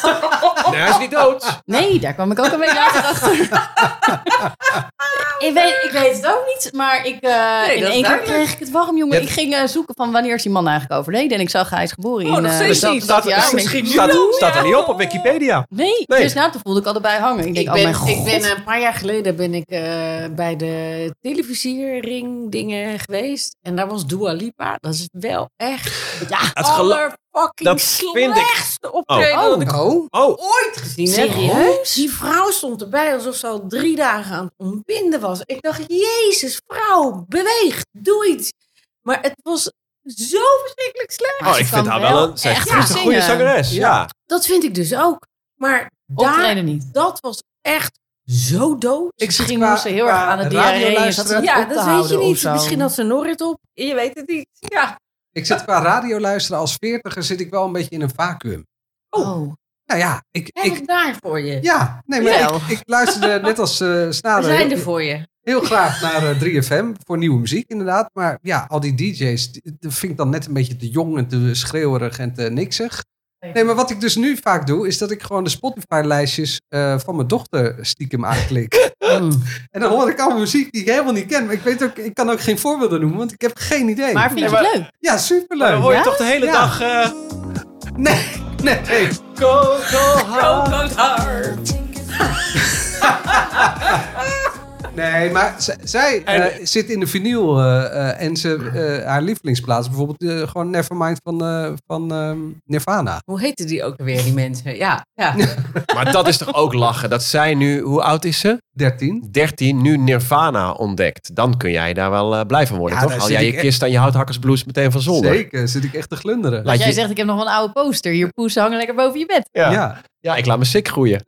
[SPEAKER 4] nee, hij is niet dood.
[SPEAKER 5] Nee, daar kwam ik ook een beetje later achter. ik, weet, ik weet het ook niet, maar ik, eh,
[SPEAKER 3] Nee,
[SPEAKER 5] in
[SPEAKER 3] dat is
[SPEAKER 5] één keer
[SPEAKER 3] duidelijk.
[SPEAKER 5] kreeg ik het warm, jongen.
[SPEAKER 4] Ja.
[SPEAKER 5] Ik ging eh, zoeken van wanneer is die man eigenlijk overleden. En ik zag, hij is geboren
[SPEAKER 3] Oh,
[SPEAKER 5] in...
[SPEAKER 3] nog
[SPEAKER 5] eh,
[SPEAKER 3] steeds
[SPEAKER 5] dat-
[SPEAKER 3] niet.
[SPEAKER 5] dat jaar.
[SPEAKER 4] staat,
[SPEAKER 5] En ik-
[SPEAKER 4] staat, staat er niet op op Wikipedia.
[SPEAKER 5] Nee,
[SPEAKER 4] Nee.
[SPEAKER 5] dus nou, toen voelde ik al erbij hangen. Ik denk,
[SPEAKER 3] Ik ben,
[SPEAKER 5] oh mijn god.
[SPEAKER 3] ik ben een paar jaar geleden ben ik eh, bij de televisie versiering dingen geweest. En daar was Dua Lipa. Dat is wel echt ja,
[SPEAKER 4] Het gelo-
[SPEAKER 3] allerfucking
[SPEAKER 4] dat vind ik-
[SPEAKER 3] slechtste optreden
[SPEAKER 6] Oh,
[SPEAKER 3] dat ik
[SPEAKER 6] nou.
[SPEAKER 4] Oh,
[SPEAKER 3] ooit gezien heb.
[SPEAKER 1] Serieus?
[SPEAKER 3] Die vrouw stond erbij alsof ze al drie dagen aan het ontbinden was. Ik dacht, jezus, vrouw, beweeg, doe iets. Maar het was zo verschrikkelijk slecht.
[SPEAKER 4] oh
[SPEAKER 5] ze
[SPEAKER 4] ik
[SPEAKER 5] kan
[SPEAKER 4] vind haar wel een,
[SPEAKER 5] wel
[SPEAKER 4] ze is
[SPEAKER 5] echt
[SPEAKER 4] ze is een
[SPEAKER 5] goed
[SPEAKER 4] goede
[SPEAKER 5] zingen.
[SPEAKER 4] zangeres. Ja.
[SPEAKER 3] Dat vind ik dus ook. Maar daar,
[SPEAKER 5] Optreden niet.
[SPEAKER 3] dat was echt zo dood.
[SPEAKER 6] Ik zat
[SPEAKER 5] Misschien
[SPEAKER 6] qua-
[SPEAKER 5] moest ze heel erg
[SPEAKER 6] qua
[SPEAKER 5] aan het
[SPEAKER 6] radio
[SPEAKER 5] diarree. en
[SPEAKER 6] luisteren.
[SPEAKER 5] zat ze
[SPEAKER 3] ja,
[SPEAKER 5] op te
[SPEAKER 3] dat weet
[SPEAKER 5] houden
[SPEAKER 3] je
[SPEAKER 5] of
[SPEAKER 3] niet.
[SPEAKER 5] zo.
[SPEAKER 3] Misschien had ze Norrit op. Je weet het niet. Ja.
[SPEAKER 6] Ik zit qua radio luisteren als veertiger zit ik wel een beetje in een vacuüm.
[SPEAKER 5] Oh.
[SPEAKER 6] Nou ja, ik...
[SPEAKER 3] Heb
[SPEAKER 6] ik
[SPEAKER 3] ik daar voor je.
[SPEAKER 6] ja, nee, maar
[SPEAKER 5] Wel.
[SPEAKER 6] ik, ik luisterde net als eh
[SPEAKER 3] We
[SPEAKER 6] Snader
[SPEAKER 3] zijn er
[SPEAKER 6] heel,
[SPEAKER 3] voor je.
[SPEAKER 6] heel graag naar eh, 3FM voor nieuwe muziek inderdaad. Maar ja, al die DJ's, die- dat vind ik dan net een beetje te jong en te schreeuwerig en te niksig. Nee, maar wat ik dus nu vaak doe, is dat ik gewoon de Spotify-lijstjes eh, van mijn dochter stiekem aanklik. En dan hoor ik allemaal muziek die ik helemaal niet ken. Maar ik, weet ook, ik kan ook geen voorbeelden noemen, want ik heb geen idee.
[SPEAKER 5] Maar vind je
[SPEAKER 4] maar-
[SPEAKER 5] het leuk?
[SPEAKER 6] ja,
[SPEAKER 4] Maar dan
[SPEAKER 6] superleuk.
[SPEAKER 4] hoor je
[SPEAKER 5] Ja?
[SPEAKER 4] toch de hele
[SPEAKER 6] Ja.
[SPEAKER 4] dag... eh,
[SPEAKER 6] Nee, nee.
[SPEAKER 4] go, go, hard.
[SPEAKER 6] Nee, maar z- zij eh, zit in de vinyl eh, eh, en ze, eh, haar lievelingsplaats, bijvoorbeeld eh, gewoon Nevermind van, eh, van ehm, Nirvana.
[SPEAKER 3] Hoe heette die ook weer, die mensen? Ja, ja.
[SPEAKER 4] Maar dat is toch ook lachen. Dat zij nu, hoe oud is ze?
[SPEAKER 6] 13.
[SPEAKER 4] 13, nu Nirvana ontdekt. Dan kun jij daar wel eh, blij van worden,
[SPEAKER 6] Ja,
[SPEAKER 4] toch?
[SPEAKER 6] daar
[SPEAKER 4] Al
[SPEAKER 6] zit
[SPEAKER 4] jij
[SPEAKER 6] ik
[SPEAKER 4] je
[SPEAKER 6] echt-
[SPEAKER 4] kist aan je houthakkersblouse meteen van zolder.
[SPEAKER 6] Zeker, zit ik echt te glunderen.
[SPEAKER 4] Laat
[SPEAKER 5] Dat jij
[SPEAKER 4] je-
[SPEAKER 5] zegt, ik heb nog wel een oude poster. Hier poes hangen lekker boven je bed.
[SPEAKER 4] Ja. Ja.
[SPEAKER 6] ja.
[SPEAKER 4] ik laat me sick groeien.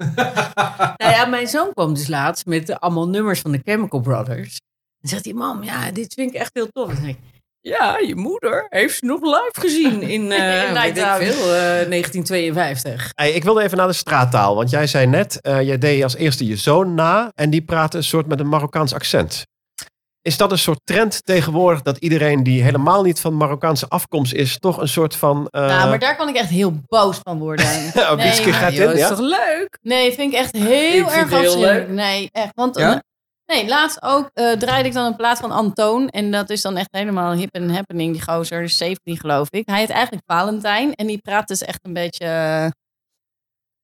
[SPEAKER 3] Nou ja, mijn zoon kwam dus laatst met eh, allemaal nummers van de Chemical Brothers. En zegt hij, mam, ja, dit vind ik echt heel tof. En dan denk ik, ja, je moeder heeft ze nog live gezien in, eh
[SPEAKER 5] In
[SPEAKER 3] weet ik
[SPEAKER 5] Nighttown.
[SPEAKER 3] veel, eh, 1952.
[SPEAKER 4] Hey, ik wilde even naar de straattaal, want jij zei net, eh, jij deed als eerste je zoon na en die praatte een soort met een Marokkaans accent. Is dat een soort trend tegenwoordig dat iedereen die helemaal niet van Marokkaanse afkomst is, toch een soort van... eh,
[SPEAKER 5] nou, maar daar kan ik echt heel boos van worden.
[SPEAKER 4] Oh,
[SPEAKER 5] Nee,
[SPEAKER 4] Wieske
[SPEAKER 5] maar
[SPEAKER 4] gaat
[SPEAKER 3] joh,
[SPEAKER 4] in,
[SPEAKER 3] is
[SPEAKER 4] ja?
[SPEAKER 3] toch leuk?
[SPEAKER 5] Nee, vind ik echt heel
[SPEAKER 3] Ik vind
[SPEAKER 5] erg
[SPEAKER 3] het heel
[SPEAKER 5] afschuwelijk.
[SPEAKER 3] leuk.
[SPEAKER 5] Nee, echt. Want
[SPEAKER 6] Ja?
[SPEAKER 5] eh, nee, laatst ook eh, draaide ik dan een plaat van Antoon. En dat is dan echt helemaal hip en happening, die gozer. Die is 17, geloof ik. Hij heet eigenlijk Valentijn. En die praat dus echt een beetje... eh,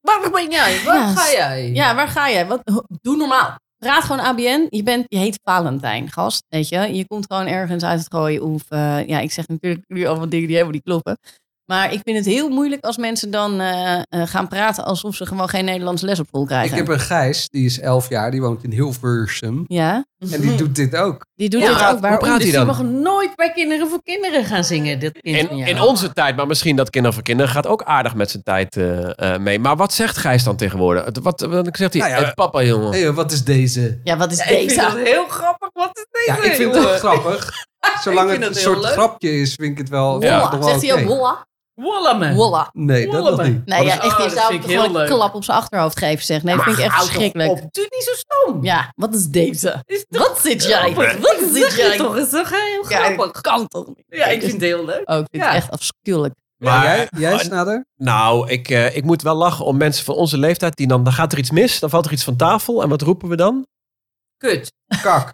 [SPEAKER 3] Waar ben jij? Waar
[SPEAKER 5] Ja,
[SPEAKER 3] ga jij? Dus
[SPEAKER 5] ja, waar ga je? Wat, ho- doe normaal. Praat gewoon ABN. Je, bent, je heet Valentijn, gast. Weet je? Je komt gewoon ergens uit het gooien. Of, eh, ja, ik zeg natuurlijk nu allemaal dingen die helemaal niet kloppen. Maar ik vind het heel moeilijk als mensen dan eh, eh, gaan praten alsof ze gewoon geen Nederlands les op school
[SPEAKER 6] Ik
[SPEAKER 5] krijgen.
[SPEAKER 6] heb een Gijs, die is 11 jaar, die woont in Hilversum.
[SPEAKER 5] Ja,
[SPEAKER 6] En die doet dit ook.
[SPEAKER 5] die doet
[SPEAKER 3] Ja,
[SPEAKER 5] dit
[SPEAKER 4] praat-
[SPEAKER 5] ook. Waarom?
[SPEAKER 4] hoe praat
[SPEAKER 3] Dus
[SPEAKER 4] hij
[SPEAKER 3] die
[SPEAKER 4] dan?
[SPEAKER 3] mag nooit bij Kinderen voor Kinderen gaan zingen, dit kind van
[SPEAKER 4] In,
[SPEAKER 3] jou.
[SPEAKER 4] in onze tijd, maar misschien dat Kinderen voor Kinderen gaat ook aardig met zijn tijd eh, eh, mee. Maar wat zegt Gijs dan tegenwoordig? Het- Wat, wat zegt hij?
[SPEAKER 6] Nou ja,
[SPEAKER 4] Eh, papa, jongen.
[SPEAKER 6] Hé, wat is deze?
[SPEAKER 5] Ja, wat is
[SPEAKER 3] Ja, ik vind dat
[SPEAKER 5] deze?
[SPEAKER 3] heel grappig. Wat is deze?
[SPEAKER 6] Ja, ik vind
[SPEAKER 3] jongen?
[SPEAKER 6] het wel grappig.
[SPEAKER 3] Ik
[SPEAKER 6] Zolang
[SPEAKER 3] vind
[SPEAKER 6] het een
[SPEAKER 3] dat heel
[SPEAKER 6] soort
[SPEAKER 3] leuk.
[SPEAKER 6] grapje is, vind ik het wel.
[SPEAKER 4] Ja.
[SPEAKER 6] nog
[SPEAKER 5] Wolla.
[SPEAKER 6] wel
[SPEAKER 5] Zegt hij ook
[SPEAKER 6] oké.
[SPEAKER 5] wolla?
[SPEAKER 3] Wolleme.
[SPEAKER 5] Wolla.
[SPEAKER 6] Nee, dat nog
[SPEAKER 3] Wollemen.
[SPEAKER 6] niet.
[SPEAKER 5] Nee,
[SPEAKER 3] dat
[SPEAKER 5] ja,
[SPEAKER 3] is-
[SPEAKER 5] echt,
[SPEAKER 3] oh,
[SPEAKER 5] je
[SPEAKER 3] dat
[SPEAKER 5] zou
[SPEAKER 3] vind ik
[SPEAKER 5] hem
[SPEAKER 3] heel
[SPEAKER 5] gewoon een
[SPEAKER 3] leuk.
[SPEAKER 5] klap op zijn achterhoofd geven, zeg. Nee, dat vind ik echt
[SPEAKER 3] Houd toch
[SPEAKER 5] verschrikkelijk.
[SPEAKER 3] Op, doe niet zo stom.
[SPEAKER 5] Ja, wat is deze?
[SPEAKER 3] Is toch
[SPEAKER 5] Wat zit jij?
[SPEAKER 3] grappig?
[SPEAKER 5] Wat zit
[SPEAKER 3] Zeg je
[SPEAKER 5] jij?
[SPEAKER 3] toch? Is toch heel grappig?
[SPEAKER 5] Ja, kan toch niet?
[SPEAKER 3] Ja, ik vind het heel leuk.
[SPEAKER 5] Oh, ik vind
[SPEAKER 3] Ja.
[SPEAKER 5] het echt afschuwelijk.
[SPEAKER 6] Maar jij, jij Snader?
[SPEAKER 4] Nou, ik, eh, ik moet wel lachen om mensen van onze leeftijd die dan, dan gaat er iets mis, dan valt er iets van tafel en wat roepen we dan?
[SPEAKER 3] Kut.
[SPEAKER 6] Kak.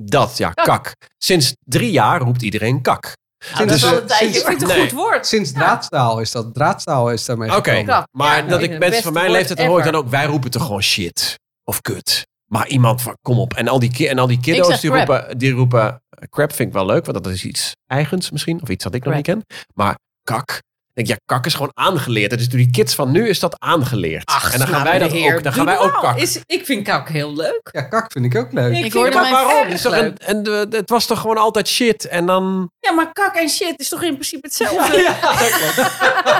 [SPEAKER 4] Dat, ja, kak. Sinds drie jaar roept iedereen kak.
[SPEAKER 5] Nou, dat is
[SPEAKER 6] Dus,
[SPEAKER 5] al
[SPEAKER 6] eh,
[SPEAKER 5] een tijdje.
[SPEAKER 6] sinds-
[SPEAKER 5] hoor.
[SPEAKER 3] vind het een
[SPEAKER 4] Nee.
[SPEAKER 3] goed woord.
[SPEAKER 6] Sinds draadstaal is dat. Draadstaal is daarmee
[SPEAKER 4] Oké,
[SPEAKER 6] gekomen.
[SPEAKER 3] Kak,
[SPEAKER 4] maar
[SPEAKER 3] ja,
[SPEAKER 4] dat
[SPEAKER 3] nou,
[SPEAKER 4] ik
[SPEAKER 3] het
[SPEAKER 4] mensen
[SPEAKER 3] beste
[SPEAKER 4] van mijn
[SPEAKER 3] woord
[SPEAKER 4] leeftijd dan hoor ik
[SPEAKER 3] ever.
[SPEAKER 4] dan ook, wij roepen toch gewoon shit of kut. Maar iemand van, kom op. En al die, ki- en al die
[SPEAKER 5] Ik
[SPEAKER 4] kiddo's
[SPEAKER 5] zeg
[SPEAKER 4] die
[SPEAKER 5] crap.
[SPEAKER 4] roepen, die roepen, eh, crap vind ik wel leuk, want dat is iets eigens misschien, of iets dat ik nog niet
[SPEAKER 5] Crap.
[SPEAKER 4] ken. Maar kak, ik denk ja, kak is gewoon aangeleerd. Dus door die kids van nu is dat aangeleerd.
[SPEAKER 3] Ach,
[SPEAKER 4] en dan gaan
[SPEAKER 3] nou,
[SPEAKER 4] wij dat
[SPEAKER 3] meneer,
[SPEAKER 4] ook, dan
[SPEAKER 3] doe
[SPEAKER 4] gaan wij ook
[SPEAKER 3] normaal.
[SPEAKER 4] kak.
[SPEAKER 3] Is, ik vind kak heel leuk.
[SPEAKER 6] Ja, kak vind ik ook leuk.
[SPEAKER 3] Ik,
[SPEAKER 5] Ik
[SPEAKER 3] hoor
[SPEAKER 5] hoorde
[SPEAKER 3] maar
[SPEAKER 5] mijn
[SPEAKER 3] waarom?
[SPEAKER 4] Het is toch een- en, eh, het was toch gewoon altijd shit en dan...
[SPEAKER 3] Ja, maar kak en shit is toch in principe hetzelfde?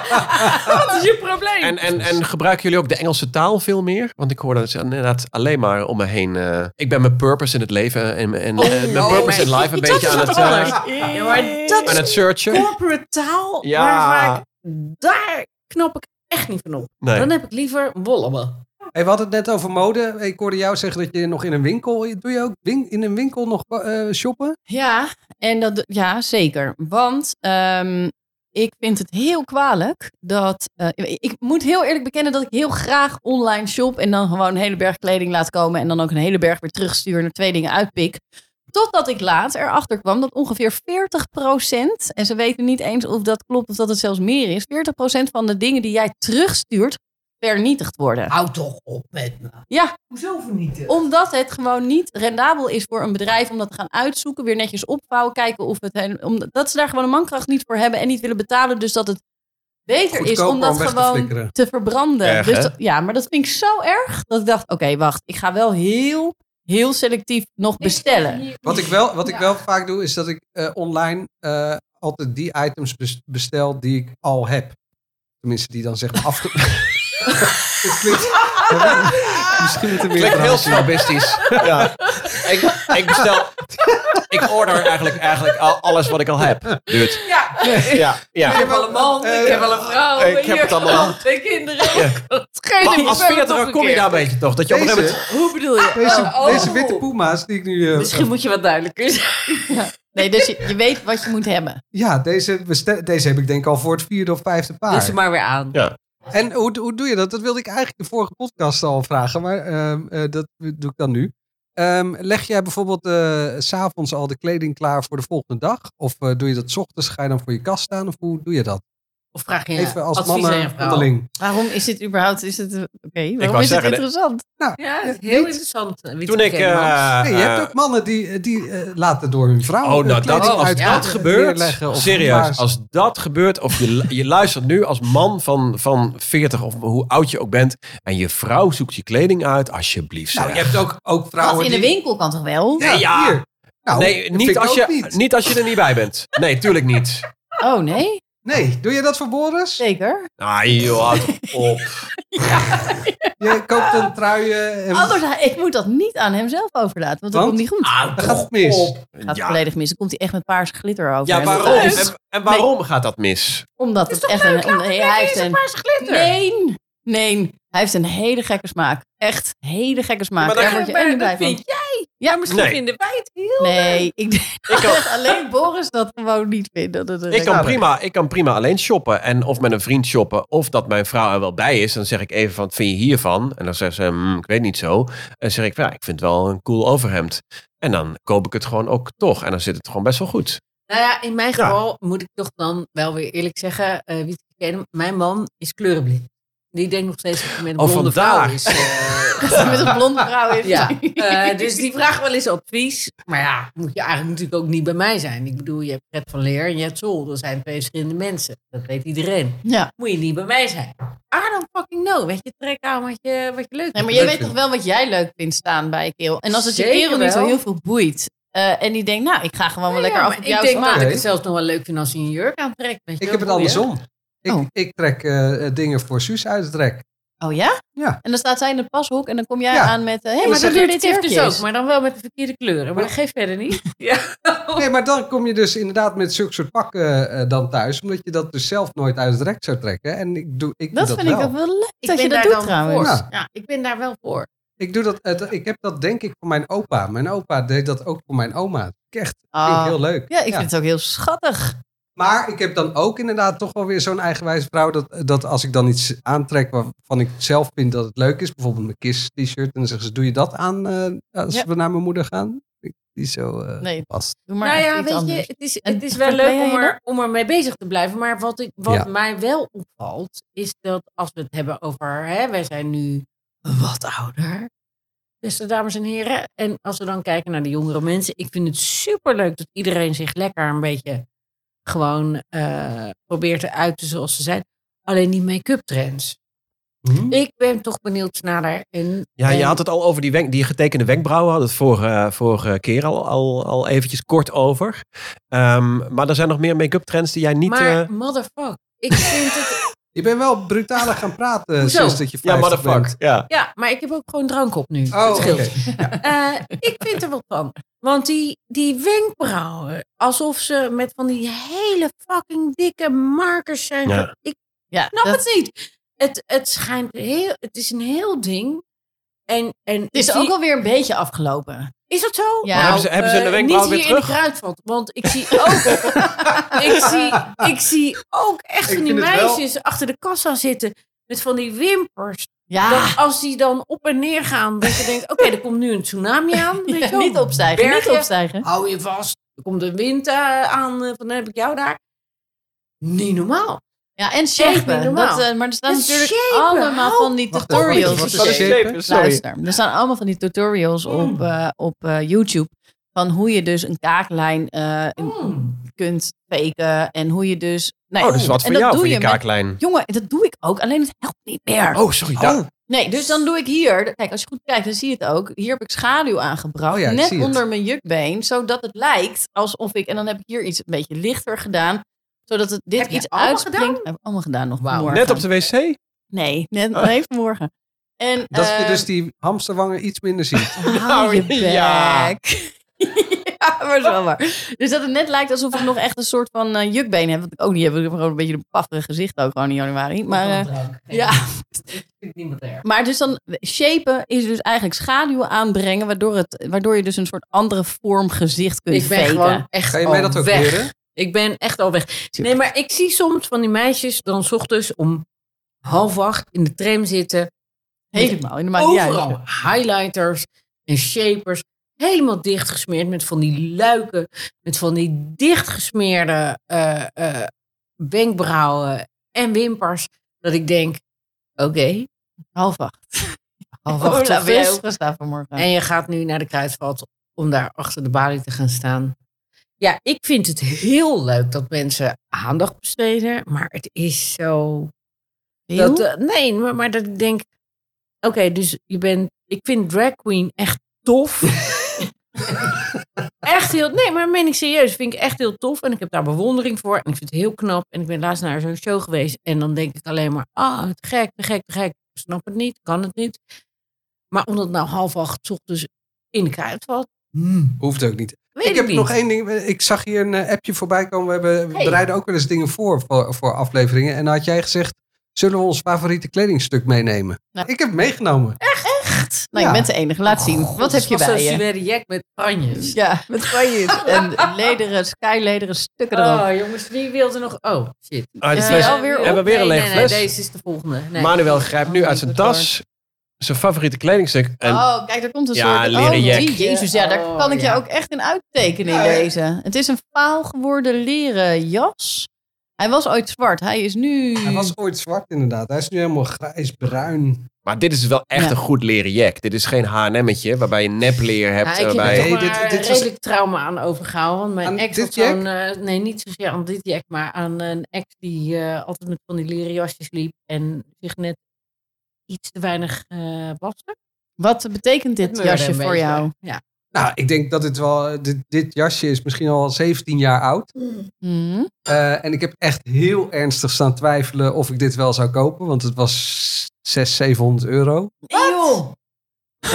[SPEAKER 3] Wat is je probleem?
[SPEAKER 4] En, en, en gebruiken jullie ook de Engelse taal veel meer? Want ik hoor dat ze inderdaad alleen maar om me heen... eh, ik ben mijn purpose in het leven en, en eh, mijn
[SPEAKER 3] oh,
[SPEAKER 4] purpose
[SPEAKER 3] nee.
[SPEAKER 4] in life een
[SPEAKER 3] Dat
[SPEAKER 4] beetje
[SPEAKER 3] is
[SPEAKER 4] aan het,
[SPEAKER 3] wat
[SPEAKER 4] eh,
[SPEAKER 3] anders. Ja, maar dat
[SPEAKER 4] aan het
[SPEAKER 3] is
[SPEAKER 4] searchen.
[SPEAKER 3] corporate taal.
[SPEAKER 4] Ja.
[SPEAKER 3] Waar vaak, daar knap ik echt niet van op.
[SPEAKER 4] Nee.
[SPEAKER 3] Dan heb ik liever wolleme.
[SPEAKER 6] Hey, we hadden het net over mode. Ik hoorde jou zeggen dat je nog in een winkel... Doe je ook win- in een winkel nog eh, shoppen?
[SPEAKER 5] Ja, en dat, ja, zeker. Want ehm, ik vind het heel kwalijk dat... eh, ik moet heel eerlijk bekennen dat ik heel graag online shop... en dan gewoon een hele berg kleding laat komen... en dan ook een hele berg weer terugstuur en er twee dingen uitpik. Totdat ik laatst erachter kwam dat ongeveer 40%... en ze weten niet eens of dat klopt of dat het zelfs meer is... 40% van de dingen die jij terugstuurt vernietigd worden.
[SPEAKER 3] Hou toch op met me.
[SPEAKER 5] Ja.
[SPEAKER 3] Hoezo vernietigen?
[SPEAKER 5] Omdat het gewoon niet rendabel is voor een bedrijf om dat te gaan uitzoeken, weer netjes opvouwen, kijken of het. hen- Om, dat ze daar gewoon de mankracht niet voor hebben en niet willen betalen. Dus dat het beter is
[SPEAKER 6] Goedkoper
[SPEAKER 5] om dat
[SPEAKER 6] om weg te
[SPEAKER 5] gewoon te,
[SPEAKER 6] flikkeren.
[SPEAKER 5] verbranden.
[SPEAKER 4] Erg,
[SPEAKER 5] dus
[SPEAKER 4] hè?
[SPEAKER 5] dat- ja, maar dat vind ik zo erg dat ik dacht: oké, wacht, ik ga wel heel, heel selectief nog bestellen.
[SPEAKER 6] Wat ik wel, wat ik wel vaak doe, is dat ik eh, online eh, altijd die items bes- bestel die ik al heb. Tenminste, die dan zeg maar afge... Het klinkt... Misschien moet er meer
[SPEAKER 2] Klinkt heel
[SPEAKER 6] verhaal-
[SPEAKER 2] snobistisch.
[SPEAKER 4] Ja. ik, ik bestel... Ik order eigenlijk, eigenlijk al- alles wat ik al heb. Dude.
[SPEAKER 5] Ja,
[SPEAKER 4] Ja,
[SPEAKER 3] Oh,
[SPEAKER 4] ja.
[SPEAKER 5] heb wel een man,
[SPEAKER 6] ik heb
[SPEAKER 5] wel een vrouw,
[SPEAKER 4] ik hier heb het allemaal. gewoon
[SPEAKER 5] twee kinderen.
[SPEAKER 4] Ja. Maar als veertiger
[SPEAKER 5] er
[SPEAKER 4] kom je daar een beetje toch? Dat je op een gegeven moment...
[SPEAKER 6] Eh, Deze,
[SPEAKER 5] Hoe bedoel je?
[SPEAKER 6] deze,
[SPEAKER 5] Oh,
[SPEAKER 6] deze witte puma's die ik nu... eh,
[SPEAKER 5] moet je wat duidelijker zijn. Nee, dus je, je weet wat je moet hebben.
[SPEAKER 6] Ja, deze, bestel- deze heb ik denk ik al voor het vierde of vijfde paar.
[SPEAKER 5] Doe ze maar weer aan.
[SPEAKER 6] Dus En hoe, hoe doe je dat? Dat wilde ik eigenlijk de vorige podcast al vragen, maar ehm, eh, dat doe ik dan nu. Ehm, leg jij bijvoorbeeld eh, s s'avonds al de kleding klaar voor de volgende dag? Of eh, doe je dat 's ochtends? Ga je dan voor je kast staan? Of hoe doe je dat?
[SPEAKER 3] Of vraag je
[SPEAKER 6] Even als
[SPEAKER 3] advies aan je
[SPEAKER 6] mannen
[SPEAKER 3] vrouw?
[SPEAKER 6] onderling.
[SPEAKER 5] Waarom is dit überhaupt... Is het, eh, oké, waarom
[SPEAKER 4] wou
[SPEAKER 5] is
[SPEAKER 4] zeggen,
[SPEAKER 5] het
[SPEAKER 4] dit-
[SPEAKER 5] interessant?
[SPEAKER 3] Ja, het is
[SPEAKER 6] Niet.
[SPEAKER 3] heel interessant. eh, wie
[SPEAKER 4] Toen
[SPEAKER 3] te
[SPEAKER 4] ik...
[SPEAKER 3] kennen, Hans.
[SPEAKER 4] eh,
[SPEAKER 6] Nee, je hebt ook mannen die, eh, die eh, laten door hun vrouw.
[SPEAKER 4] Oh, nou,
[SPEAKER 6] eh, kleding
[SPEAKER 4] dat, als
[SPEAKER 6] uit-
[SPEAKER 4] dat
[SPEAKER 6] eh,
[SPEAKER 4] gebeurt,
[SPEAKER 6] neerleggen of
[SPEAKER 4] serieus,
[SPEAKER 6] plaatsen.
[SPEAKER 4] als dat gebeurt, of je, je luistert nu als man van, van 40 of hoe oud je ook bent, en je vrouw zoekt je kleding uit, alsjeblieft.
[SPEAKER 6] Nou,
[SPEAKER 4] zeg.
[SPEAKER 6] je hebt ook, ook vrouwen
[SPEAKER 5] Of in de
[SPEAKER 6] die-
[SPEAKER 5] winkel kan toch wel?
[SPEAKER 6] Ja,
[SPEAKER 4] Nee, ja.
[SPEAKER 6] hier. Nou,
[SPEAKER 4] nee,
[SPEAKER 6] dat
[SPEAKER 4] niet
[SPEAKER 6] vind ik
[SPEAKER 4] als,
[SPEAKER 6] ook
[SPEAKER 4] je,
[SPEAKER 6] niet.
[SPEAKER 4] niet. als je er niet bij bent. Nee, tuurlijk niet.
[SPEAKER 5] Oh, nee?
[SPEAKER 6] Nee, doe je dat voor Boris?
[SPEAKER 5] Zeker?
[SPEAKER 4] Ah, joh, houd op.
[SPEAKER 6] Je koopt een trui eh, en
[SPEAKER 5] Anders, hij- ik moet dat niet aan hem zelf overlaten, want dat
[SPEAKER 6] Want?
[SPEAKER 5] komt niet goed.
[SPEAKER 6] dan gaat het mis.
[SPEAKER 5] gaat
[SPEAKER 4] Ah, Ja,
[SPEAKER 5] volledig mis. Dan komt hij echt met paars glitter over.
[SPEAKER 4] ja
[SPEAKER 5] hem.
[SPEAKER 4] waarom?
[SPEAKER 5] Dus,
[SPEAKER 4] En, en waarom gaat dat mis?
[SPEAKER 5] omdat het echt een... om- nee, hij heeft een...
[SPEAKER 3] glitter.
[SPEAKER 5] Nee, nee. Hij heeft een hele gekke smaak. Echt hele gekke smaak.
[SPEAKER 4] maar dat-
[SPEAKER 5] Daar word je echt niet blij van.
[SPEAKER 3] jij. Ja, misschien
[SPEAKER 4] Nee.
[SPEAKER 3] vinden wij het heel...
[SPEAKER 5] Nee, ik denk
[SPEAKER 4] Ik kan,
[SPEAKER 5] dat alleen Boris dat gewoon niet vindt. Dat het een
[SPEAKER 4] ik, kan
[SPEAKER 5] reclame-
[SPEAKER 4] prima, ik kan prima alleen shoppen. En of met een vriend shoppen. Of dat mijn vrouw er wel bij is. Dan zeg ik even van, wat vind je hiervan? En dan zegt ze, "Hmm, ik weet niet zo. En dan zeg ik, ja, ik vind het wel een cool overhemd. En dan koop ik het gewoon ook toch. En dan zit het gewoon best wel goed.
[SPEAKER 3] Nou ja, in mijn
[SPEAKER 4] Ja.
[SPEAKER 3] geval moet ik toch dan wel weer eerlijk zeggen. eh, wie ik ken, mijn man is kleurenblind. Die denkt nog steeds dat hij met een
[SPEAKER 4] Oh,
[SPEAKER 3] blonde vrouw
[SPEAKER 4] vandaar.
[SPEAKER 3] is. eh,
[SPEAKER 5] Dat hij met een blonde vrouw is.
[SPEAKER 3] ja. Eh, dus die vraagt wel eens advies. Maar ja, moet je eigenlijk natuurlijk ook niet bij mij zijn. Ik bedoel, je hebt Fred van Leer en je hebt Sol. Dat zijn twee verschillende mensen. Dat weet iedereen.
[SPEAKER 5] Ja.
[SPEAKER 3] Moet je niet bij mij zijn. I don't fucking know. Weet je, trek aan wat je, wat je leuk
[SPEAKER 5] Nee, maar
[SPEAKER 3] vindt.
[SPEAKER 5] jij weet toch wel wat jij leuk vindt staan bij je kerel. En als het je
[SPEAKER 3] Zeker
[SPEAKER 5] kerel niet zo
[SPEAKER 3] wel.
[SPEAKER 5] heel veel boeit. eh, en die denkt, nou, ik ga gewoon wel lekker
[SPEAKER 3] Ja,
[SPEAKER 5] af
[SPEAKER 3] maar
[SPEAKER 5] op
[SPEAKER 3] ik
[SPEAKER 5] jouw
[SPEAKER 3] denk
[SPEAKER 5] smaak.
[SPEAKER 3] dat ik het
[SPEAKER 6] Oké.
[SPEAKER 3] zelfs nog wel leuk vind als hij een jurk aantrekt. Weet je wel,
[SPEAKER 6] Ik heb het
[SPEAKER 3] boeien.
[SPEAKER 6] andersom. Ik,
[SPEAKER 5] Oh.
[SPEAKER 6] ik trek eh, eh, dingen voor Suus uit het rek.
[SPEAKER 5] Oh ja?
[SPEAKER 6] Ja.
[SPEAKER 5] En dan staat zij in het pashok en dan kom jij
[SPEAKER 6] Ja.
[SPEAKER 5] aan met... eh, hey,
[SPEAKER 3] Ja,
[SPEAKER 5] maar
[SPEAKER 3] maar
[SPEAKER 5] dat
[SPEAKER 3] dat
[SPEAKER 5] doe
[SPEAKER 3] doet
[SPEAKER 5] dit
[SPEAKER 3] Tiff dus ook.
[SPEAKER 5] jurkjes.
[SPEAKER 3] Maar dan wel met de verkeerde kleuren. Maar dat geeft verder niet. Ja.
[SPEAKER 6] Nee, maar dan kom je dus inderdaad met zulke soort pakken eh, dan thuis. Omdat je dat dus zelf nooit uit het rek zou trekken. En ik doe, ik doe
[SPEAKER 5] Dat
[SPEAKER 6] dat
[SPEAKER 5] vind ik
[SPEAKER 6] wel.
[SPEAKER 5] ook wel leuk dat je dat doet trouwens.
[SPEAKER 6] voor. Ja.
[SPEAKER 3] ik ben daar wel voor.
[SPEAKER 6] Ik, doe dat, het- ik heb dat denk ik voor mijn opa. Mijn opa deed dat ook voor mijn oma. Dat vind ik Echt vind ik
[SPEAKER 5] Ah.
[SPEAKER 6] heel leuk.
[SPEAKER 5] Ja, ik vind het ook heel schattig.
[SPEAKER 6] Maar ik heb dan ook inderdaad toch wel weer zo'n eigenwijze vrouw. Dat, dat als ik dan iets aantrek waarvan ik zelf vind dat het leuk is. Bijvoorbeeld mijn KISS t-shirt. En dan zeggen ze, doe je dat aan eh, als
[SPEAKER 5] Ja.
[SPEAKER 6] we naar mijn moeder gaan? Ik- Die zo eh,
[SPEAKER 5] Nee.
[SPEAKER 6] past.
[SPEAKER 5] Doe maar
[SPEAKER 3] nou
[SPEAKER 5] echt
[SPEAKER 3] ja,
[SPEAKER 5] iets
[SPEAKER 3] weet
[SPEAKER 5] anders.
[SPEAKER 3] je, het is,
[SPEAKER 5] En
[SPEAKER 3] het is wel
[SPEAKER 5] ben
[SPEAKER 3] leuk
[SPEAKER 5] jij
[SPEAKER 3] om,
[SPEAKER 5] je
[SPEAKER 3] er, om ermee bezig te blijven. Maar wat, ik, wat
[SPEAKER 6] Ja.
[SPEAKER 3] mij wel opvalt, is dat als we het hebben over... Hè, wij zijn nu wat ouder. Beste dames en heren. En als we dan kijken naar de jongere mensen. Ik vind het superleuk dat iedereen zich lekker een beetje... gewoon eh, probeert te uiten zoals ze zijn. Alleen die make-up trends.
[SPEAKER 6] Hm?
[SPEAKER 3] Ik ben toch benieuwd naar haar. En,
[SPEAKER 4] Ja, je
[SPEAKER 3] en-
[SPEAKER 4] had het al over die, wenk, die getekende wenkbrauwen. Had het vorige, vorige keer al, al, al eventjes kort over. Ehm, maar er zijn nog meer make-up trends die jij niet...
[SPEAKER 3] Maar
[SPEAKER 4] eh,
[SPEAKER 3] motherfuck. Ik vind het...
[SPEAKER 6] Je bent wel brutaler gaan praten eh,
[SPEAKER 3] Hoezo?
[SPEAKER 6] sinds dat je 50
[SPEAKER 4] ja,
[SPEAKER 6] bent.
[SPEAKER 4] motherfuck. Ja.
[SPEAKER 3] Ja, maar ik heb ook gewoon drank op nu.
[SPEAKER 6] Oh,
[SPEAKER 3] Het
[SPEAKER 6] oké.
[SPEAKER 3] scheelt. Eh, ik vind er wat van. Want die, die wenkbrauwen, alsof ze met van die hele fucking dikke markers zijn.
[SPEAKER 4] Ja.
[SPEAKER 3] ge- Ik
[SPEAKER 5] Ja,
[SPEAKER 3] snap
[SPEAKER 5] dat-
[SPEAKER 3] het niet. Het, het schijnt heel, het is een heel ding. En, en
[SPEAKER 5] het is
[SPEAKER 3] die-
[SPEAKER 5] ook alweer een beetje afgelopen.
[SPEAKER 3] is dat zo?
[SPEAKER 5] Ja. Maar hebben
[SPEAKER 4] ze- hebben ze
[SPEAKER 3] eh,
[SPEAKER 4] de wenkbrauw
[SPEAKER 3] niet
[SPEAKER 4] weer
[SPEAKER 3] hier
[SPEAKER 4] terug?
[SPEAKER 3] in de kruidvat, want ik zie ook, ik zie, ik zie ook echt
[SPEAKER 6] Ik
[SPEAKER 3] van die
[SPEAKER 6] vind het wel-
[SPEAKER 3] meisjes achter de kassa zitten met van die wimpers.
[SPEAKER 5] Ja,
[SPEAKER 3] Dat als die dan op en neer gaan, dat je denkt, oké, er komt nu een tsunami aan. Weet je
[SPEAKER 5] Ja,
[SPEAKER 3] wel.
[SPEAKER 5] niet opstijgen,
[SPEAKER 3] Bergen.
[SPEAKER 5] niet opstijgen.
[SPEAKER 3] Hou je vast. Er komt een wind eh, aan, eh, van dan heb ik jou daar. Niet normaal.
[SPEAKER 5] Ja, en
[SPEAKER 3] Echt niet
[SPEAKER 5] shapen.
[SPEAKER 3] normaal.
[SPEAKER 5] Dat, eh, maar er staan
[SPEAKER 3] En
[SPEAKER 5] natuurlijk
[SPEAKER 3] shapen,
[SPEAKER 5] allemaal
[SPEAKER 3] hou-
[SPEAKER 5] van die
[SPEAKER 6] Wacht even,
[SPEAKER 5] tutorials.
[SPEAKER 6] wat is
[SPEAKER 5] op. eh,
[SPEAKER 6] shapen?
[SPEAKER 4] Sorry.
[SPEAKER 5] Luister, er staan allemaal van die tutorials
[SPEAKER 3] Hmm.
[SPEAKER 5] op, eh, op eh, YouTube. Van hoe je dus een kaaklijn eh, kunt faken. En hoe je dus... Nou,
[SPEAKER 4] Oh, dus wat
[SPEAKER 5] en
[SPEAKER 4] voor
[SPEAKER 5] dat
[SPEAKER 4] jou,
[SPEAKER 5] doe
[SPEAKER 4] voor
[SPEAKER 5] je
[SPEAKER 4] je
[SPEAKER 5] met-
[SPEAKER 4] kaaklijn.
[SPEAKER 5] Jongen, dat doe ik ook. Alleen het helpt niet meer.
[SPEAKER 4] Oh, sorry. daar-
[SPEAKER 5] Nee, dus dan doe ik hier. Kijk, als je goed kijkt, dan zie je het ook. Hier heb ik schaduw aangebracht.
[SPEAKER 6] Oh ja, ik
[SPEAKER 5] net
[SPEAKER 6] zie het.
[SPEAKER 5] onder mijn jukbeen. Zodat het lijkt alsof ik. En dan heb ik hier iets een beetje lichter gedaan. Zodat het dit
[SPEAKER 3] Heb je
[SPEAKER 5] iets
[SPEAKER 3] allemaal
[SPEAKER 5] uitspringt.
[SPEAKER 3] gedaan?
[SPEAKER 5] Heb ik allemaal gedaan nog.
[SPEAKER 3] Wauw.
[SPEAKER 5] vanmorgen.
[SPEAKER 4] Net op de wc?
[SPEAKER 5] Nee, net nee, vanmorgen. En,
[SPEAKER 6] Dat je
[SPEAKER 5] eh,
[SPEAKER 6] dus die hamsterwangen iets minder ziet.
[SPEAKER 5] Hou je bek.
[SPEAKER 4] Ja.
[SPEAKER 5] Ja. maar zo maar. Dus dat het net lijkt alsof ik nog echt een soort van eh, jukbeen heb. Wat ik ook niet heb. Ik heb gewoon een beetje een pafferig gezicht ook gewoon in januari. Maar eh, ja.
[SPEAKER 3] vind niemand erg.
[SPEAKER 5] Maar dus dan, shapen is dus eigenlijk schaduw aanbrengen, waardoor, het, waardoor je dus een soort andere vorm gezicht kunt
[SPEAKER 3] Ik ben
[SPEAKER 5] faken.
[SPEAKER 3] gewoon echt
[SPEAKER 6] Ga je mij
[SPEAKER 3] al
[SPEAKER 6] dat ook
[SPEAKER 3] oh, weg.
[SPEAKER 6] leren?
[SPEAKER 3] Ik ben echt al weg. Nee, maar ik zie soms van die meisjes dan 's ochtends om half acht in de tram zitten.
[SPEAKER 5] Helemaal, in de maakt niet uit.
[SPEAKER 3] Overal highlighters en shapers. Helemaal dichtgesmeerd met van die luiken. Met van die dichtgesmeerde eh eh wenkbrauwen en wimpers. Dat ik denk, oké,
[SPEAKER 5] Half acht.
[SPEAKER 3] half
[SPEAKER 5] Oh,
[SPEAKER 3] acht
[SPEAKER 5] daar
[SPEAKER 3] of
[SPEAKER 5] ben jij
[SPEAKER 3] is.
[SPEAKER 5] ook gestaan vanmorgen.
[SPEAKER 3] En je gaat nu naar de kruidvat om daar achter de balie te gaan staan. Ja, ik vind het heel leuk dat mensen aandacht besteden. Maar het is zo
[SPEAKER 5] Heel?
[SPEAKER 3] dat, eh, nee, maar, maar dat ik denk... Oké, dus je bent... Ik vind drag queen echt tof. echt heel... Nee, maar meen ik serieus. Vind ik echt heel tof. En ik heb daar bewondering voor. En ik vind het heel knap. En ik ben laatst naar zo'n show geweest. En dan denk ik alleen maar... Ah, te gek, te gek, te gek. Ik snap het niet, kan het niet. Maar omdat het nou half acht 's ochtends in de kruid valt...
[SPEAKER 6] Hoeft ook niet.
[SPEAKER 3] Weet
[SPEAKER 6] Hmm. ik heb
[SPEAKER 3] niet.
[SPEAKER 6] nog één ding. Ik zag hier een eh, appje voorbij komen. We, hebben, we
[SPEAKER 3] Hey.
[SPEAKER 6] bereiden ook wel eens dingen voor, voor voor afleveringen. En dan had jij gezegd, zullen we ons favoriete kledingstuk meenemen?
[SPEAKER 5] Nou.
[SPEAKER 6] Ik heb het meegenomen.
[SPEAKER 5] nou,
[SPEAKER 6] ja.
[SPEAKER 5] je bent de enige. Laat zien.
[SPEAKER 3] Oh,
[SPEAKER 5] Wat heb je bij je?
[SPEAKER 3] Zo'n jack met panjes.
[SPEAKER 5] Ja, met kanjes. en lederen, skylederen stukken erop.
[SPEAKER 3] Oh, jongens, wie wilde nog... Oh, shit.
[SPEAKER 4] Ah, de
[SPEAKER 5] Ja,
[SPEAKER 4] fles.
[SPEAKER 5] ja, alweer op.
[SPEAKER 4] Hebben we weer een
[SPEAKER 3] nee,
[SPEAKER 4] lege
[SPEAKER 3] nee,
[SPEAKER 4] fles?
[SPEAKER 3] Nee, deze is de volgende. Nee.
[SPEAKER 4] Manuel grijpt nu
[SPEAKER 5] Oh,
[SPEAKER 4] uit
[SPEAKER 5] ik
[SPEAKER 4] zijn
[SPEAKER 5] word
[SPEAKER 4] tas zijn favoriete kledingstuk. En
[SPEAKER 5] oh, kijk, daar komt een
[SPEAKER 4] Ja,
[SPEAKER 5] soort...
[SPEAKER 4] leren
[SPEAKER 5] oh,
[SPEAKER 4] jack.
[SPEAKER 5] die, jezus, ja, daar
[SPEAKER 3] Oh,
[SPEAKER 5] kan ik
[SPEAKER 3] ja.
[SPEAKER 5] je ook echt een uittekenen in deze. Het is een faal geworden leren jas. Hij was ooit zwart. Hij is nu...
[SPEAKER 6] Hij was ooit zwart inderdaad. Hij is nu helemaal grijs-bruin.
[SPEAKER 4] Maar dit is wel echt
[SPEAKER 5] Ja.
[SPEAKER 4] een goed leren jack. Dit is geen H&M'tje waarbij je nepleer hebt.
[SPEAKER 3] Ja, ik heb
[SPEAKER 4] waarbij-
[SPEAKER 6] het
[SPEAKER 3] er
[SPEAKER 6] Nee,
[SPEAKER 3] toch
[SPEAKER 6] dit-
[SPEAKER 3] maar
[SPEAKER 6] dit was-
[SPEAKER 3] redelijk trauma aan overgehouden. Want mijn
[SPEAKER 6] Aan
[SPEAKER 3] ex
[SPEAKER 6] dit
[SPEAKER 3] had zo'n... eh, nee, niet zozeer aan dit jack, maar aan een ex die eh, altijd met van die leren jasjes liep en zich net iets te weinig eh waste.
[SPEAKER 5] Wat betekent dit
[SPEAKER 3] Het meurde
[SPEAKER 5] jasje
[SPEAKER 3] een
[SPEAKER 5] voor
[SPEAKER 3] beetje.
[SPEAKER 5] jou?
[SPEAKER 3] Ja.
[SPEAKER 6] Nou, ik denk dat dit wel... Dit, dit jasje is misschien al 17 jaar oud.
[SPEAKER 5] Mhm.
[SPEAKER 6] Eh, en ik heb echt heel ernstig staan twijfelen of ik dit wel zou kopen. Want het was 600, 700 euro.
[SPEAKER 3] Eeuw!
[SPEAKER 6] Ah,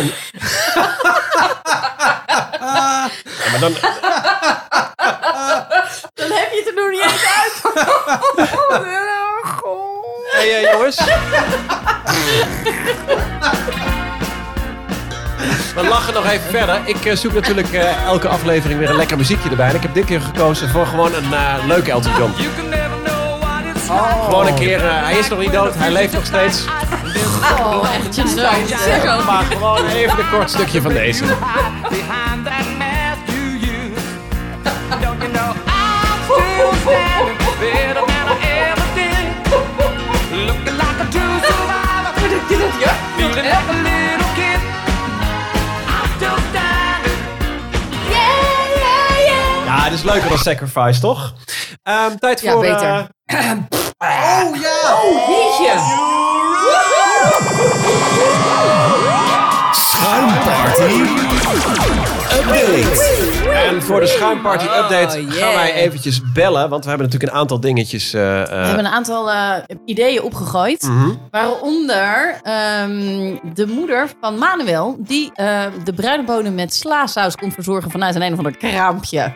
[SPEAKER 4] Ja, maar dan,
[SPEAKER 5] Dan heb je het er nog niet eens uit.
[SPEAKER 4] hey, eh, jongens. We lachen nog even verder. Ik eh, zoek natuurlijk eh, elke aflevering weer een lekker muziekje erbij. En ik heb dit keer gekozen voor gewoon een eh, leuke Elton John. Gewoon een keer, eh, hij is nog niet dood, hij leeft nog steeds.
[SPEAKER 5] Oh, echt je neus.
[SPEAKER 4] Maar gewoon even een kort stukje van deze.
[SPEAKER 7] behind that mask you use. Don't you know I'm still standing better than I ever did? Looking like a true survivor, feeling like a little kid. I'm still standing. Yeah, yeah, yeah.
[SPEAKER 4] Ja, het is leuker dan Sacrifice, toch? Ehm, tijd
[SPEAKER 3] Ja,
[SPEAKER 4] voor...
[SPEAKER 3] beter.
[SPEAKER 4] eh,
[SPEAKER 6] Oh ja!
[SPEAKER 3] Jeetje!
[SPEAKER 4] En voor de schuimparty update
[SPEAKER 3] Oh,
[SPEAKER 4] gaan
[SPEAKER 3] yeah.
[SPEAKER 4] wij eventjes bellen. Want we hebben natuurlijk een aantal dingetjes. eh, eh,
[SPEAKER 5] We hebben een aantal eh, ideeën opgegooid.
[SPEAKER 4] mhm.
[SPEAKER 5] Waaronder ehm, de moeder van Manuel, die eh, de bruine bonen met slaasaus komt verzorgen vanuit een een of ander kraampje.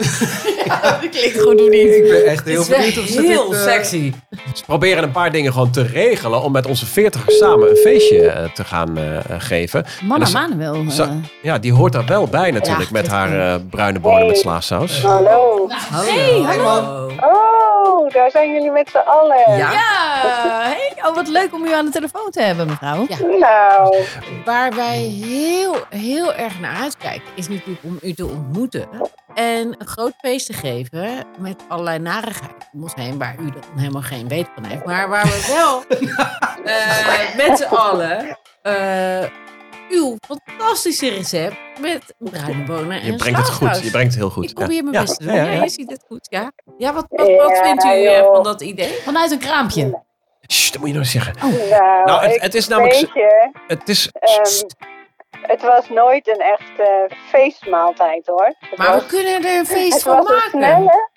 [SPEAKER 5] ja, dat klinkt goed of niet?
[SPEAKER 6] Ik ben echt heel
[SPEAKER 3] Het is
[SPEAKER 6] benieuwd of
[SPEAKER 3] wel
[SPEAKER 6] ze
[SPEAKER 3] heel
[SPEAKER 6] dit, eh,
[SPEAKER 3] sexy.
[SPEAKER 4] Dus we proberen een paar dingen gewoon te regelen. Om met onze veertigers samen een feestje eh, te gaan eh, eh, geven. En
[SPEAKER 5] Mama
[SPEAKER 4] dan-
[SPEAKER 5] Manuel. eh,
[SPEAKER 4] Zo- ja, die hoort daar wel bij natuurlijk.
[SPEAKER 5] Ja,
[SPEAKER 4] met
[SPEAKER 5] dit-
[SPEAKER 4] haar eh, bruine bonen met slaasaus.
[SPEAKER 3] Hey, hallo!
[SPEAKER 8] Oh, daar zijn jullie met z'n allen.
[SPEAKER 3] Ja,
[SPEAKER 5] ja, hey, oh, wat leuk om u aan de telefoon te hebben, mevrouw.
[SPEAKER 3] Ja.
[SPEAKER 8] Nou,
[SPEAKER 3] Waar wij heel, heel erg naar uitkijken is natuurlijk om u te ontmoeten en een groot feest te geven met allerlei narigheid. om ons heen, waar u dan helemaal geen weet van heeft. Maar waar we wel eh, met z'n allen eh, uw fantastische recept met bruine bonen en
[SPEAKER 4] Je brengt het goed.
[SPEAKER 3] slagroos.
[SPEAKER 4] Je brengt het heel goed.
[SPEAKER 3] Ik probeer mijn best te doen.
[SPEAKER 4] Ja,
[SPEAKER 3] Ja,
[SPEAKER 4] ja, ja.
[SPEAKER 3] je ziet het goed, ja. Ja, wat, wat, wat
[SPEAKER 8] Ja,
[SPEAKER 3] vindt u eh,
[SPEAKER 8] joh.
[SPEAKER 3] van dat idee?
[SPEAKER 5] Vanuit een kraampje.
[SPEAKER 4] Sst, dat moet je nooit zeggen.
[SPEAKER 3] Oh,
[SPEAKER 8] Nou,
[SPEAKER 4] Nou, het-
[SPEAKER 8] ik-
[SPEAKER 4] het is namelijk-
[SPEAKER 8] Weet je,
[SPEAKER 4] Het is...
[SPEAKER 8] ehm, het was nooit een echte feestmaaltijd hoor. Het
[SPEAKER 3] Maar
[SPEAKER 8] was,
[SPEAKER 3] we kunnen er een feest
[SPEAKER 8] het
[SPEAKER 3] van
[SPEAKER 8] was een
[SPEAKER 3] maken.
[SPEAKER 8] snelle.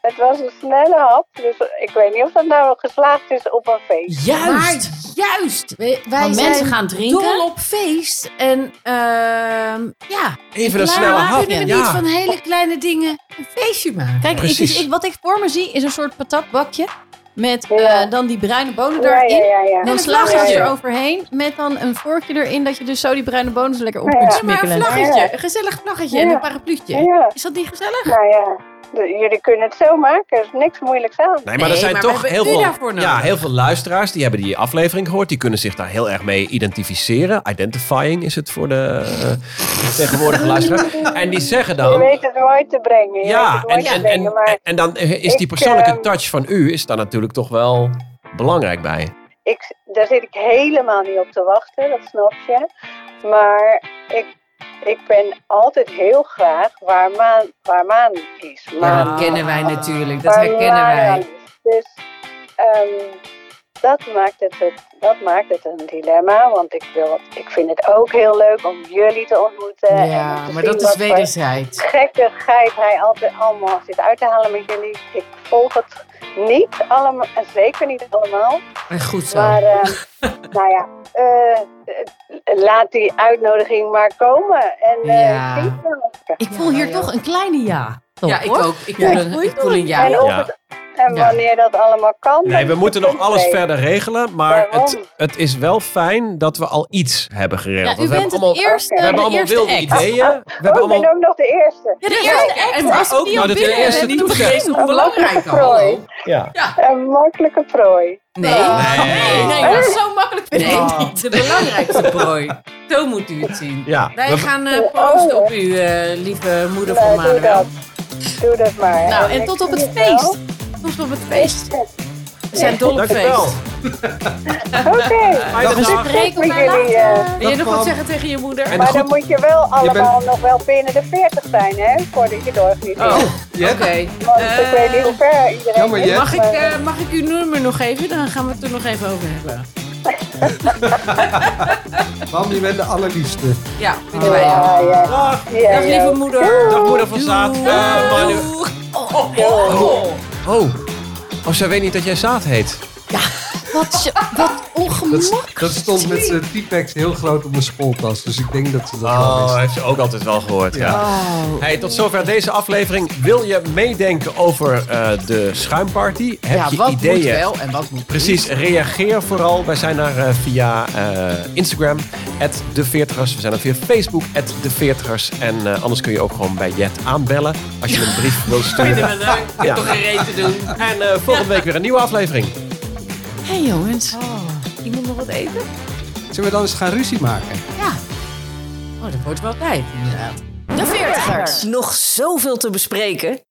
[SPEAKER 8] Het was een snelle hap, dus ik weet niet of dat nou geslaagd is op een feest.
[SPEAKER 3] Juist. juist. Wij, wij
[SPEAKER 5] Want
[SPEAKER 3] zijn
[SPEAKER 5] mensen gaan drinken.
[SPEAKER 3] dol op feest. En ehm ja,
[SPEAKER 4] Even een
[SPEAKER 3] klaar.
[SPEAKER 4] snelle
[SPEAKER 3] we
[SPEAKER 4] hap.
[SPEAKER 3] kunnen
[SPEAKER 4] Ja.
[SPEAKER 3] niet van hele kleine dingen een feestje maken.
[SPEAKER 5] Kijk, ik,
[SPEAKER 4] Precies.
[SPEAKER 5] ik- wat ik voor me zie is een soort patatbakje. Met
[SPEAKER 8] Ja.
[SPEAKER 5] eh, dan die bruine bonen
[SPEAKER 8] ja,
[SPEAKER 5] erin.
[SPEAKER 8] ja, ja, ja.
[SPEAKER 5] Dan
[SPEAKER 3] een
[SPEAKER 5] slaag je
[SPEAKER 8] vlaggetje.
[SPEAKER 5] er overheen met dan een vorkje erin dat je dus zo die bruine bonen zo lekker op
[SPEAKER 8] Ja.
[SPEAKER 5] kunt
[SPEAKER 8] Ja,
[SPEAKER 3] Ja, maar een
[SPEAKER 5] smikkelen.
[SPEAKER 3] vlaggetje, een gezellig vlaggetje en
[SPEAKER 8] Ja.
[SPEAKER 3] een parapluutje.
[SPEAKER 8] Ja,
[SPEAKER 3] Is dat niet gezellig?
[SPEAKER 8] nou ja. De- jullie kunnen het zo maken, er is niks moeilijks aan.
[SPEAKER 4] Nee, maar er
[SPEAKER 3] Nee,
[SPEAKER 4] zijn
[SPEAKER 3] maar we
[SPEAKER 4] toch
[SPEAKER 3] hebben
[SPEAKER 4] heel
[SPEAKER 3] u daarvoor
[SPEAKER 4] veel,
[SPEAKER 3] nodig.
[SPEAKER 4] ja, heel veel luisteraars die hebben die aflevering gehoord. Die kunnen zich daar heel erg mee identificeren. Identifying is het voor de eh, tegenwoordige luisteraars. En die zeggen
[SPEAKER 8] Je
[SPEAKER 4] dan...
[SPEAKER 8] weet het mooi te brengen. je weet
[SPEAKER 4] Ja,
[SPEAKER 8] het mooi
[SPEAKER 4] en,
[SPEAKER 8] te
[SPEAKER 4] en,
[SPEAKER 8] brengen,
[SPEAKER 4] en,
[SPEAKER 8] maar
[SPEAKER 4] en dan is die
[SPEAKER 8] ik,
[SPEAKER 4] persoonlijke
[SPEAKER 8] ehm,
[SPEAKER 4] touch van u is daar natuurlijk toch wel belangrijk bij.
[SPEAKER 8] ik, daar zit ik helemaal niet op te wachten, dat snap je. Maar ik, ik ben altijd heel graag waar maan, waar maan is.
[SPEAKER 3] Ja,
[SPEAKER 8] Maan,
[SPEAKER 3] dat kennen wij natuurlijk. Dat
[SPEAKER 8] waar
[SPEAKER 3] herkennen
[SPEAKER 8] maan
[SPEAKER 3] wij.
[SPEAKER 8] is. Dus ehm, dat, maakt het, het- dat maakt het een dilemma. Want ik, wil, ik vind het ook heel leuk om jullie te ontmoeten. en om
[SPEAKER 3] Ja,
[SPEAKER 8] te
[SPEAKER 3] maar
[SPEAKER 8] zien
[SPEAKER 3] dat
[SPEAKER 8] wat
[SPEAKER 3] is
[SPEAKER 8] voor
[SPEAKER 3] wederzijds.
[SPEAKER 8] gekkigheid hij altijd allemaal zit uit te halen met jullie. Ik volg het niet allemaal, en zeker niet allemaal.
[SPEAKER 3] En goed zo.
[SPEAKER 8] Maar eh, nou ja, eh, eh, laat die uitnodiging maar komen. En eh
[SPEAKER 3] Ja.
[SPEAKER 8] zie wel.
[SPEAKER 5] Ik
[SPEAKER 3] Ja,
[SPEAKER 5] voel hier
[SPEAKER 3] ja.
[SPEAKER 5] toch een kleine ja. Toch,
[SPEAKER 3] Ja, ik
[SPEAKER 5] hoor.
[SPEAKER 3] ook. Ik voel een, ik voel een ja.
[SPEAKER 8] en, of
[SPEAKER 4] Ja.
[SPEAKER 8] het- en
[SPEAKER 3] Ja.
[SPEAKER 8] wanneer dat allemaal kan.
[SPEAKER 4] Nee, we
[SPEAKER 8] dat
[SPEAKER 4] moeten
[SPEAKER 8] is
[SPEAKER 4] nog alles
[SPEAKER 8] oké.
[SPEAKER 4] verder regelen. Maar
[SPEAKER 8] Waarom?
[SPEAKER 4] het, het is wel fijn dat we al iets hebben
[SPEAKER 5] Ja,
[SPEAKER 4] geregeld.
[SPEAKER 5] u
[SPEAKER 4] Want we
[SPEAKER 5] bent
[SPEAKER 4] hebben
[SPEAKER 5] het
[SPEAKER 4] allemaal,
[SPEAKER 5] eerste,
[SPEAKER 4] we hebben
[SPEAKER 5] de
[SPEAKER 4] allemaal
[SPEAKER 5] eerste
[SPEAKER 4] wilde
[SPEAKER 5] act.
[SPEAKER 4] ideeën. We
[SPEAKER 8] Oh,
[SPEAKER 4] hebben
[SPEAKER 8] ik
[SPEAKER 4] allemaal
[SPEAKER 8] ben ook nog de eerste.
[SPEAKER 5] Ja, de eerste act.
[SPEAKER 3] En als
[SPEAKER 5] Als we
[SPEAKER 3] ook
[SPEAKER 5] die
[SPEAKER 4] nou,
[SPEAKER 5] al
[SPEAKER 4] dat
[SPEAKER 5] binnen
[SPEAKER 4] de eerste
[SPEAKER 5] hebben,
[SPEAKER 3] niet
[SPEAKER 4] toeter.
[SPEAKER 3] vergeten hoe
[SPEAKER 8] Een
[SPEAKER 3] belangrijk
[SPEAKER 8] makkelijke
[SPEAKER 3] al.
[SPEAKER 8] prooi.
[SPEAKER 4] ja.
[SPEAKER 8] Een makkelijke prooi.
[SPEAKER 3] Nee,
[SPEAKER 5] Nee, nee, dat is zo makkelijk vind ik
[SPEAKER 3] nee,
[SPEAKER 5] niet.
[SPEAKER 3] de belangrijkste prooi. Zo moet u het zien.
[SPEAKER 4] Ja,
[SPEAKER 3] Wij
[SPEAKER 4] we-
[SPEAKER 3] gaan eh, proosten op u, eh, lieve moeder van
[SPEAKER 8] Nou, doe
[SPEAKER 3] Manuel.
[SPEAKER 8] dat. Doe dat maar.
[SPEAKER 5] Nou, en
[SPEAKER 8] ik
[SPEAKER 5] tot
[SPEAKER 8] zie
[SPEAKER 5] op het
[SPEAKER 8] wel.
[SPEAKER 5] feest. Tot op het feest.
[SPEAKER 3] We zijn dol op
[SPEAKER 4] Dankjewel.
[SPEAKER 3] feest.
[SPEAKER 8] Oké.
[SPEAKER 4] Fijne
[SPEAKER 8] Dus
[SPEAKER 4] dag.
[SPEAKER 8] ik spreek
[SPEAKER 5] Spreken
[SPEAKER 8] met
[SPEAKER 5] elkaar
[SPEAKER 8] jullie. eh,
[SPEAKER 3] Wil je nog
[SPEAKER 4] Pam.
[SPEAKER 3] wat zeggen tegen je moeder?
[SPEAKER 4] En
[SPEAKER 8] maar
[SPEAKER 4] goed,
[SPEAKER 8] dan moet je wel allemaal nog wel binnen de 40 zijn, hè? Voordat je doorgaat.
[SPEAKER 3] Oh,
[SPEAKER 6] Ja,
[SPEAKER 3] oké.
[SPEAKER 8] Want ik weet niet hoe ver iedereen
[SPEAKER 6] jammer,
[SPEAKER 8] is,
[SPEAKER 6] Jet.
[SPEAKER 3] Mag ik,
[SPEAKER 8] maar-
[SPEAKER 3] eh, mag ik uw nummer nog even? Dan gaan we het er nog even over hebben.
[SPEAKER 6] Mam, je bent de allerliefste.
[SPEAKER 3] Ja, vinden wij ook.
[SPEAKER 8] Ja, ja.
[SPEAKER 4] Dag,
[SPEAKER 8] Ja,
[SPEAKER 3] Dag
[SPEAKER 8] ja.
[SPEAKER 3] lieve moeder.
[SPEAKER 4] dag moeder van Zaad. Eh, Manu-
[SPEAKER 3] Doeg.
[SPEAKER 4] Oh. oh, zij weet niet dat jij Zaad heet.
[SPEAKER 5] Wat, zo- wat
[SPEAKER 6] Dat,
[SPEAKER 5] ongemak.
[SPEAKER 6] dat stond met zijn T-Pax heel groot op mijn schooltas. Dus ik denk dat ze dat wel
[SPEAKER 4] Oh,
[SPEAKER 6] wist.
[SPEAKER 4] heeft ze ook altijd wel gehoord, ja. Hey, tot zover deze aflevering. Wil je meedenken over eh, de schuimparty? Heb
[SPEAKER 3] Ja,
[SPEAKER 4] je
[SPEAKER 3] wat
[SPEAKER 4] ideeën?
[SPEAKER 3] moet wel en wat moet
[SPEAKER 4] Precies, reageer vooral. Wij zijn daar eh, via eh, Instagram, de 40ers. We zijn er via Facebook, de 40ers. En eh, anders kun je ook gewoon bij Jet aanbellen als je een brief wilt sturen.
[SPEAKER 3] Leuk, ik heb
[SPEAKER 4] Ja.
[SPEAKER 3] eh, toch geen reet te doen.
[SPEAKER 4] En eh, volgende week weer een nieuwe aflevering.
[SPEAKER 5] hey, jongens.
[SPEAKER 3] Iemand nog wat eten?
[SPEAKER 6] Zullen we dan eens gaan ruzie maken?
[SPEAKER 3] Oh, dat wordt wel tijd, inderdaad.
[SPEAKER 5] De veertigers.
[SPEAKER 1] Nog zoveel te bespreken.